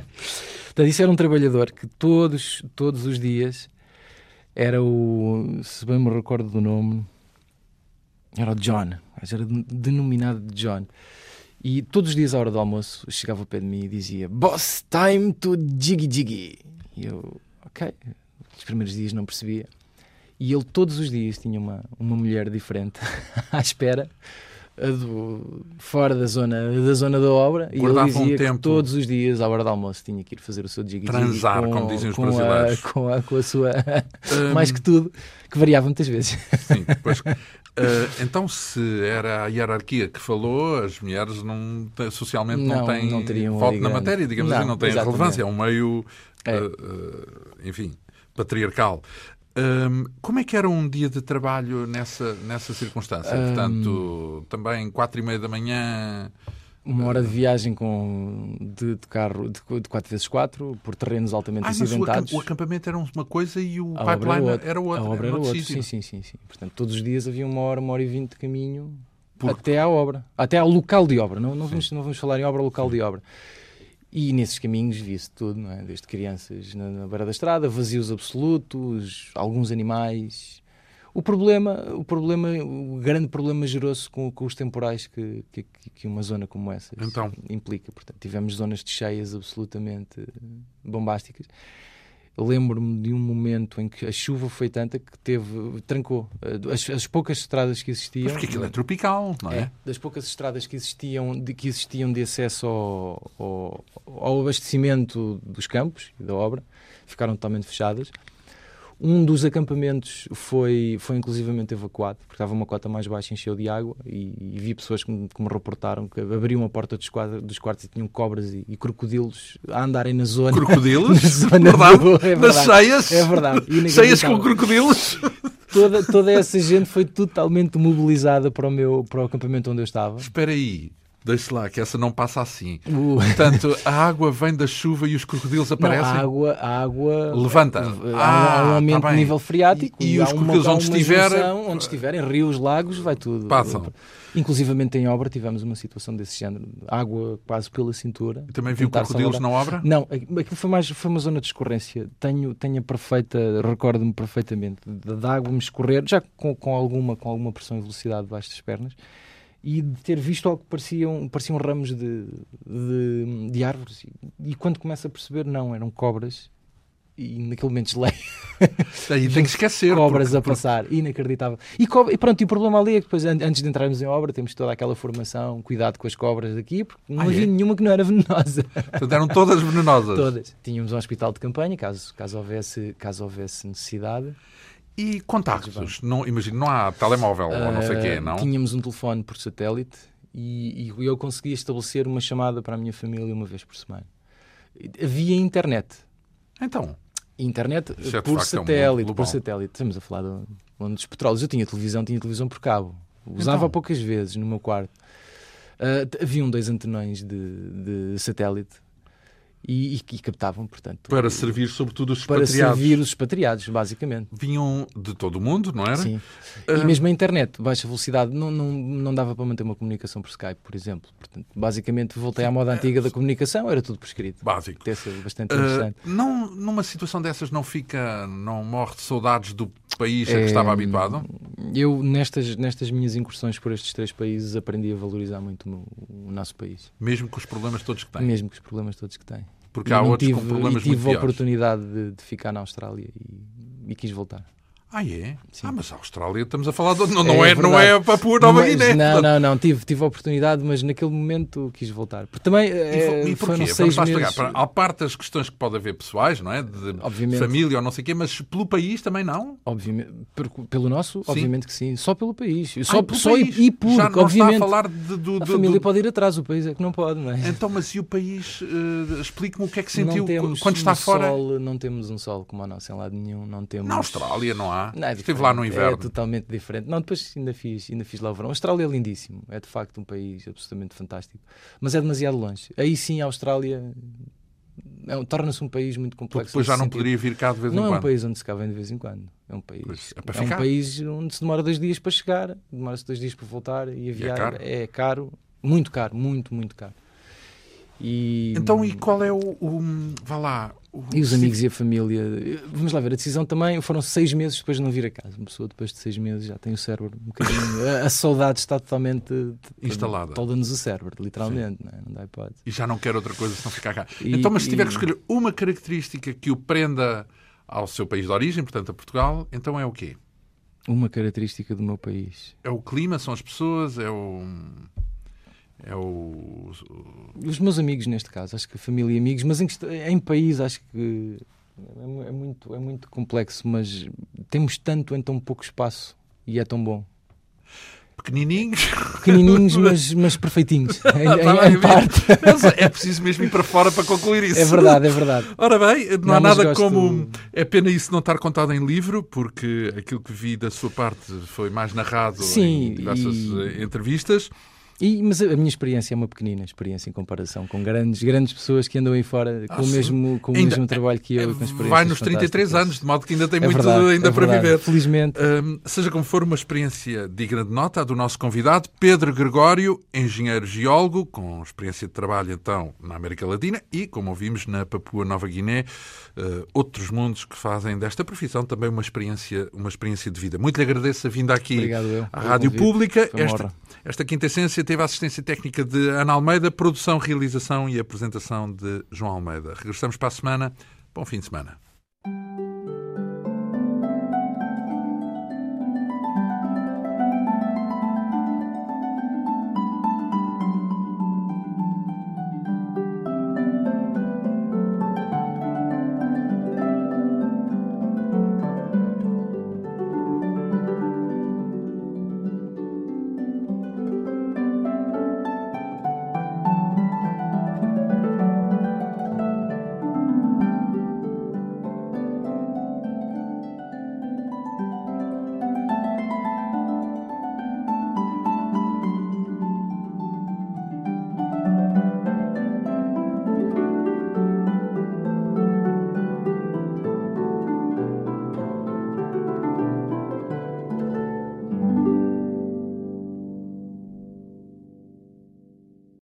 [SPEAKER 2] Portanto, isso era um trabalhador que todos, todos os dias era o. Se bem me recordo do nome, era o John. Era den- denominado John. E todos os dias, à hora do almoço, chegava ao pé de mim e dizia: Boss, time to jiggy jiggy. E eu, ok. Os primeiros dias não percebia. E ele, todos os dias, tinha uma, uma mulher diferente à espera. a do- fora da zona, da zona da obra, e ele
[SPEAKER 1] Guardava um
[SPEAKER 2] dizia
[SPEAKER 1] tempo.
[SPEAKER 2] que todos todos os dias, à hora do almoço, tinha que ir fazer o seu jiggy
[SPEAKER 1] Transar, como dizem os
[SPEAKER 2] com a-
[SPEAKER 1] brasileiros.
[SPEAKER 2] com, a, com a sua.
[SPEAKER 1] Hum.
[SPEAKER 2] mais que tudo, que variava muitas vezes.
[SPEAKER 1] Sim, depois. Eh, então, se era a hierarquia que falou, as mulheres não, te- socialmente não,
[SPEAKER 2] Não,
[SPEAKER 1] têm
[SPEAKER 2] não teriam
[SPEAKER 1] voto
[SPEAKER 2] ali
[SPEAKER 1] na
[SPEAKER 2] grande-
[SPEAKER 1] matéria, digamos
[SPEAKER 2] Não,
[SPEAKER 1] assim, não têm
[SPEAKER 2] exatamente.
[SPEAKER 1] relevância. É um meio,
[SPEAKER 2] É.
[SPEAKER 1] eh, eh, enfim, patriarcal. Hum, como é que era um dia de trabalho nessa, nessa circunstância? Portanto, também quatro e meia da manhã,
[SPEAKER 2] Uma hora de viagem com, de, de carro de, de 4x4 por terrenos altamente
[SPEAKER 1] Ah, mas o, acam-
[SPEAKER 2] acidentados.
[SPEAKER 1] o acampamento era uma coisa e o
[SPEAKER 2] A obra
[SPEAKER 1] pipeline
[SPEAKER 2] outra.
[SPEAKER 1] era outra.
[SPEAKER 2] A obra
[SPEAKER 1] era
[SPEAKER 2] era
[SPEAKER 1] noutro
[SPEAKER 2] outra.
[SPEAKER 1] sítio.
[SPEAKER 2] Sim, sim, sim, sim. Portanto, todos os dias havia uma hora, uma hora e vinte de caminho
[SPEAKER 1] Por-
[SPEAKER 2] até à obra, até ao local de obra. Não, não, vamos, não vamos falar em obra, local de obra. E nesses caminhos via-se tudo, não é? Desde crianças na, na beira da estrada, vazios absolutos, alguns animais. O problema, o problema, o grande problema gerou-se com, com os temporais que, que, que uma zona como essa
[SPEAKER 1] Então.
[SPEAKER 2] implica. Portanto, tivemos zonas de cheias absolutamente eh, bombásticas. Eu Lembro-me de um momento em que a chuva foi tanta que teve, trancou eh, as, as poucas estradas que existiam.
[SPEAKER 1] Mas porque aquilo é tropical, não é?
[SPEAKER 2] É, das poucas estradas que existiam de, que existiam de acesso ao, ao- ao abastecimento dos campos e da obra ficaram totalmente fechadas. Um dos acampamentos foi, foi inclusivamente evacuado, porque estava uma cota mais baixa, encheu de água e, e vi pessoas que me, que me reportaram que abriam a porta dos, quadra- dos quartos e tinham cobras e, e crocodilos a andarem na
[SPEAKER 1] É.
[SPEAKER 2] zona.
[SPEAKER 1] Crocodilos?
[SPEAKER 2] Na zona
[SPEAKER 1] Verdade?
[SPEAKER 2] do- é
[SPEAKER 1] Nas
[SPEAKER 2] verdade.
[SPEAKER 1] ceias?
[SPEAKER 2] É verdade.
[SPEAKER 1] Ceias com
[SPEAKER 2] Inacreditável.
[SPEAKER 1] crocodilos?
[SPEAKER 2] Toda, toda essa gente foi totalmente mobilizada para o, meu, para o acampamento onde eu estava.
[SPEAKER 1] Espera aí. Deixe lá, que essa não passa assim.
[SPEAKER 2] O-
[SPEAKER 1] Portanto, a água vem da chuva e os crocodilos
[SPEAKER 2] Não, a
[SPEAKER 1] aparecem.
[SPEAKER 2] água, a água
[SPEAKER 1] Levanta.
[SPEAKER 2] Há um-
[SPEAKER 1] Ah,
[SPEAKER 2] há um aumento
[SPEAKER 1] tá
[SPEAKER 2] de
[SPEAKER 1] bem.
[SPEAKER 2] nível freático
[SPEAKER 1] E- e
[SPEAKER 2] há
[SPEAKER 1] os
[SPEAKER 2] uma-
[SPEAKER 1] crocodilos
[SPEAKER 2] há
[SPEAKER 1] onde
[SPEAKER 2] uma
[SPEAKER 1] estiver- eh,
[SPEAKER 2] junção, onde estiver, em rios, lagos, vai tudo.
[SPEAKER 1] Passam.
[SPEAKER 2] Inclusivamente em obra tivemos uma situação desse género, água quase pela cintura.
[SPEAKER 1] Também viu
[SPEAKER 2] Tentar
[SPEAKER 1] crocodilos
[SPEAKER 2] salvar-
[SPEAKER 1] na obra?
[SPEAKER 2] Não, é aqu- aquilo foi mais foi uma zona de escorrência. Tenho, tenho a perfeita, recordo-me perfeitamente de, de água me escorrer, já com, com alguma com alguma pressão e velocidade debaixo das pernas e de ter visto algo que pareciam, pareciam ramos de, de, de árvores. E, e quando começo a perceber, não, eram cobras. E naquele momento
[SPEAKER 1] É,
[SPEAKER 2] gelei
[SPEAKER 1] Aí tem que esquecer.
[SPEAKER 2] cobras
[SPEAKER 1] porque-
[SPEAKER 2] a passar, inacreditável. E, co- e pronto, e o problema ali é que depois, an- antes de entrarmos em obra, temos toda aquela formação, cuidado com as cobras aqui, porque não
[SPEAKER 1] Ah,
[SPEAKER 2] havia
[SPEAKER 1] é?
[SPEAKER 2] nenhuma que não era venenosa.
[SPEAKER 1] Portanto, eram todas venenosas.
[SPEAKER 2] Todas. Tínhamos um hospital de campanha, caso, caso, houvesse, caso houvesse necessidade.
[SPEAKER 1] E contactos? Não, imagino, não há telemóvel ou não sei o quê,
[SPEAKER 2] Ah,
[SPEAKER 1] não?
[SPEAKER 2] Tínhamos um telefone por satélite e, e eu conseguia estabelecer uma chamada para a minha família uma vez por semana. Havia internet.
[SPEAKER 1] Então,
[SPEAKER 2] Internet
[SPEAKER 1] Isso é, de
[SPEAKER 2] por
[SPEAKER 1] facto, é um mundo
[SPEAKER 2] satélite,
[SPEAKER 1] global.
[SPEAKER 2] por satélite. Estamos a falar de um dos petróleos. Eu tinha televisão, tinha televisão por cabo. Usava
[SPEAKER 1] Então.
[SPEAKER 2] poucas vezes no meu quarto. Ah, t- haviam dois antenões de, de satélite e, e, e captavam, portanto,
[SPEAKER 1] para servir sobretudo os
[SPEAKER 2] para
[SPEAKER 1] expatriados.
[SPEAKER 2] servir os expatriados, basicamente.
[SPEAKER 1] Vinham de todo o mundo, não era?
[SPEAKER 2] Sim.
[SPEAKER 1] Ah.
[SPEAKER 2] E mesmo a internet, baixa velocidade, não, não, não dava para manter uma comunicação por Skype, por exemplo. Portanto, basicamente voltei à moda antiga da comunicação, era tudo por escrito.
[SPEAKER 1] Básico.
[SPEAKER 2] Deve ser bastante
[SPEAKER 1] Ah,
[SPEAKER 2] interessante.
[SPEAKER 1] não, numa situação dessas não fica, não morre de saudades do país a que
[SPEAKER 2] Eh,
[SPEAKER 1] estava habituado?
[SPEAKER 2] Eu, nestas, nestas minhas incursões por estes três países, aprendi a valorizar muito o, meu- o nosso país,
[SPEAKER 1] Mesmo com os problemas todos que tem.
[SPEAKER 2] mesmo com os problemas todos que tem.
[SPEAKER 1] Porque
[SPEAKER 2] E
[SPEAKER 1] há
[SPEAKER 2] não
[SPEAKER 1] outros
[SPEAKER 2] tive,
[SPEAKER 1] com
[SPEAKER 2] e
[SPEAKER 1] problemas
[SPEAKER 2] tive
[SPEAKER 1] muito
[SPEAKER 2] a
[SPEAKER 1] piores.
[SPEAKER 2] oportunidade de, de ficar na Austrália e, e quis voltar.
[SPEAKER 1] Ah, é?
[SPEAKER 2] Sim.
[SPEAKER 1] Ah, mas a Austrália estamos a falar de... Não, não, é, não
[SPEAKER 2] verdade.
[SPEAKER 1] é Papua Nova
[SPEAKER 2] Mas-
[SPEAKER 1] Guiné.
[SPEAKER 2] Não, não, não, tive, tive a oportunidade, mas naquele momento quis voltar. Porque também
[SPEAKER 1] E,
[SPEAKER 2] eh,
[SPEAKER 1] fo- e porquê?
[SPEAKER 2] foram
[SPEAKER 1] Vamos
[SPEAKER 2] seis
[SPEAKER 1] lá
[SPEAKER 2] meses.
[SPEAKER 1] estragar. Para- À parte das questões que pode haver pessoais, não é? De
[SPEAKER 2] Obviamente.
[SPEAKER 1] família ou não sei o quê, mas pelo país também não?
[SPEAKER 2] Obviamente, per- pelo nosso,
[SPEAKER 1] Sim.
[SPEAKER 2] obviamente que sim, só pelo país, só,
[SPEAKER 1] Ah, pelo
[SPEAKER 2] só e-
[SPEAKER 1] país.
[SPEAKER 2] e por,
[SPEAKER 1] Já não
[SPEAKER 2] obviamente.
[SPEAKER 1] está a falar de, do,
[SPEAKER 2] A
[SPEAKER 1] do-
[SPEAKER 2] família
[SPEAKER 1] do-
[SPEAKER 2] pode ir atrás, o país é que não pode, não é?
[SPEAKER 1] Então, mas e o país? eh, Explique-me o que é que sentiu
[SPEAKER 2] não temos
[SPEAKER 1] quando está
[SPEAKER 2] um
[SPEAKER 1] fora.
[SPEAKER 2] Sol, não temos um sol como o nosso em lado nenhum, não temos.
[SPEAKER 1] Na Austrália não há.
[SPEAKER 2] Não, é
[SPEAKER 1] Estive
[SPEAKER 2] diferente,
[SPEAKER 1] lá no
[SPEAKER 2] É
[SPEAKER 1] inverno.
[SPEAKER 2] totalmente diferente. Não, depois ainda fiz, ainda fiz lá o verão. A Austrália é lindíssimo, é de facto um país absolutamente fantástico, mas é demasiado longe. Aí sim a Austrália é um- torna-se um país muito
[SPEAKER 1] Porque
[SPEAKER 2] complexo.
[SPEAKER 1] depois já
[SPEAKER 2] nesse
[SPEAKER 1] não
[SPEAKER 2] sentido.
[SPEAKER 1] poderia vir cá de vez em
[SPEAKER 2] Não é um
[SPEAKER 1] quando.
[SPEAKER 2] país onde se cá vem de vez em quando. É um país,
[SPEAKER 1] Pois, é
[SPEAKER 2] é
[SPEAKER 1] para
[SPEAKER 2] um
[SPEAKER 1] ficar.
[SPEAKER 2] país onde se demora dois dias para chegar, demora-se dois dias para voltar e a viagem
[SPEAKER 1] caro.
[SPEAKER 2] é caro, muito caro, muito, muito caro. E,
[SPEAKER 1] Então, e qual é o. o- vá lá. o-
[SPEAKER 2] e os amigos e a família. Vamos lá ver, a decisão também foram seis meses depois de não vir a casa. Uma pessoa depois de seis meses já tem o cérebro um bocadinho. a, a saudade está totalmente
[SPEAKER 1] Instalada.
[SPEAKER 2] Toda-nos o cérebro, literalmente, não, é? não dá hipótese.
[SPEAKER 1] E já não quer outra coisa se não ficar cá.
[SPEAKER 2] E-
[SPEAKER 1] então, mas se tiver
[SPEAKER 2] e-
[SPEAKER 1] que escolher uma característica que o prenda ao seu país de origem, portanto a Portugal, então é o quê?
[SPEAKER 2] Uma característica do meu país.
[SPEAKER 1] É o clima, são as pessoas, é o. É o.
[SPEAKER 2] Os meus amigos, neste caso, acho que família e amigos, mas em, quest- em país acho que é, mu- é muito, é muito complexo, mas temos tanto em tão pouco espaço e é tão bom.
[SPEAKER 1] Pequenininhos.
[SPEAKER 2] Pequenininhos, mas, mas perfeitinhos. Em- em-
[SPEAKER 1] Está Tá bem,
[SPEAKER 2] em parte.
[SPEAKER 1] É preciso mesmo ir para fora para concluir isso.
[SPEAKER 2] É verdade, é verdade.
[SPEAKER 1] Ora bem, não, há
[SPEAKER 2] Não, mas
[SPEAKER 1] nada
[SPEAKER 2] gosto-
[SPEAKER 1] como. É pena isso não estar contado em livro, porque aquilo que vi da sua parte foi mais narrado em
[SPEAKER 2] Sim,
[SPEAKER 1] diversas
[SPEAKER 2] e-
[SPEAKER 1] eh, entrevistas.
[SPEAKER 2] E- mas a a minha experiência é uma pequenina experiência em comparação com grandes, grandes pessoas que andam aí fora com,
[SPEAKER 1] Ah,
[SPEAKER 2] o,
[SPEAKER 1] sim.
[SPEAKER 2] mesmo, com o
[SPEAKER 1] Ainda- é,
[SPEAKER 2] mesmo trabalho que eu. e com experiências
[SPEAKER 1] Vai nos 33
[SPEAKER 2] fantásticas.
[SPEAKER 1] anos, de modo que ainda tem
[SPEAKER 2] É
[SPEAKER 1] muito
[SPEAKER 2] verdade,
[SPEAKER 1] ainda
[SPEAKER 2] é
[SPEAKER 1] para
[SPEAKER 2] verdade.
[SPEAKER 1] viver.
[SPEAKER 2] Felizmente.
[SPEAKER 1] Hum, seja como for, uma experiência digna de nota a do nosso convidado, Pedro Gregório, engenheiro geólogo, com experiência de trabalho então na América Latina e, como ouvimos, na Papua Nova Guiné, eh, outros mundos que fazem desta profissão também uma experiência, uma experiência de vida. Muito lhe agradeço a vinda aqui
[SPEAKER 2] Obrigado eu
[SPEAKER 1] à
[SPEAKER 2] pelo
[SPEAKER 1] Rádio
[SPEAKER 2] convite.
[SPEAKER 1] Pública.
[SPEAKER 2] Foi uma
[SPEAKER 1] Esta,
[SPEAKER 2] honra.
[SPEAKER 1] esta quinta essência teve a assistência técnica de Ana Almeida, produção, realização e apresentação de João Almeida. Regressamos para a semana. Bom fim de semana.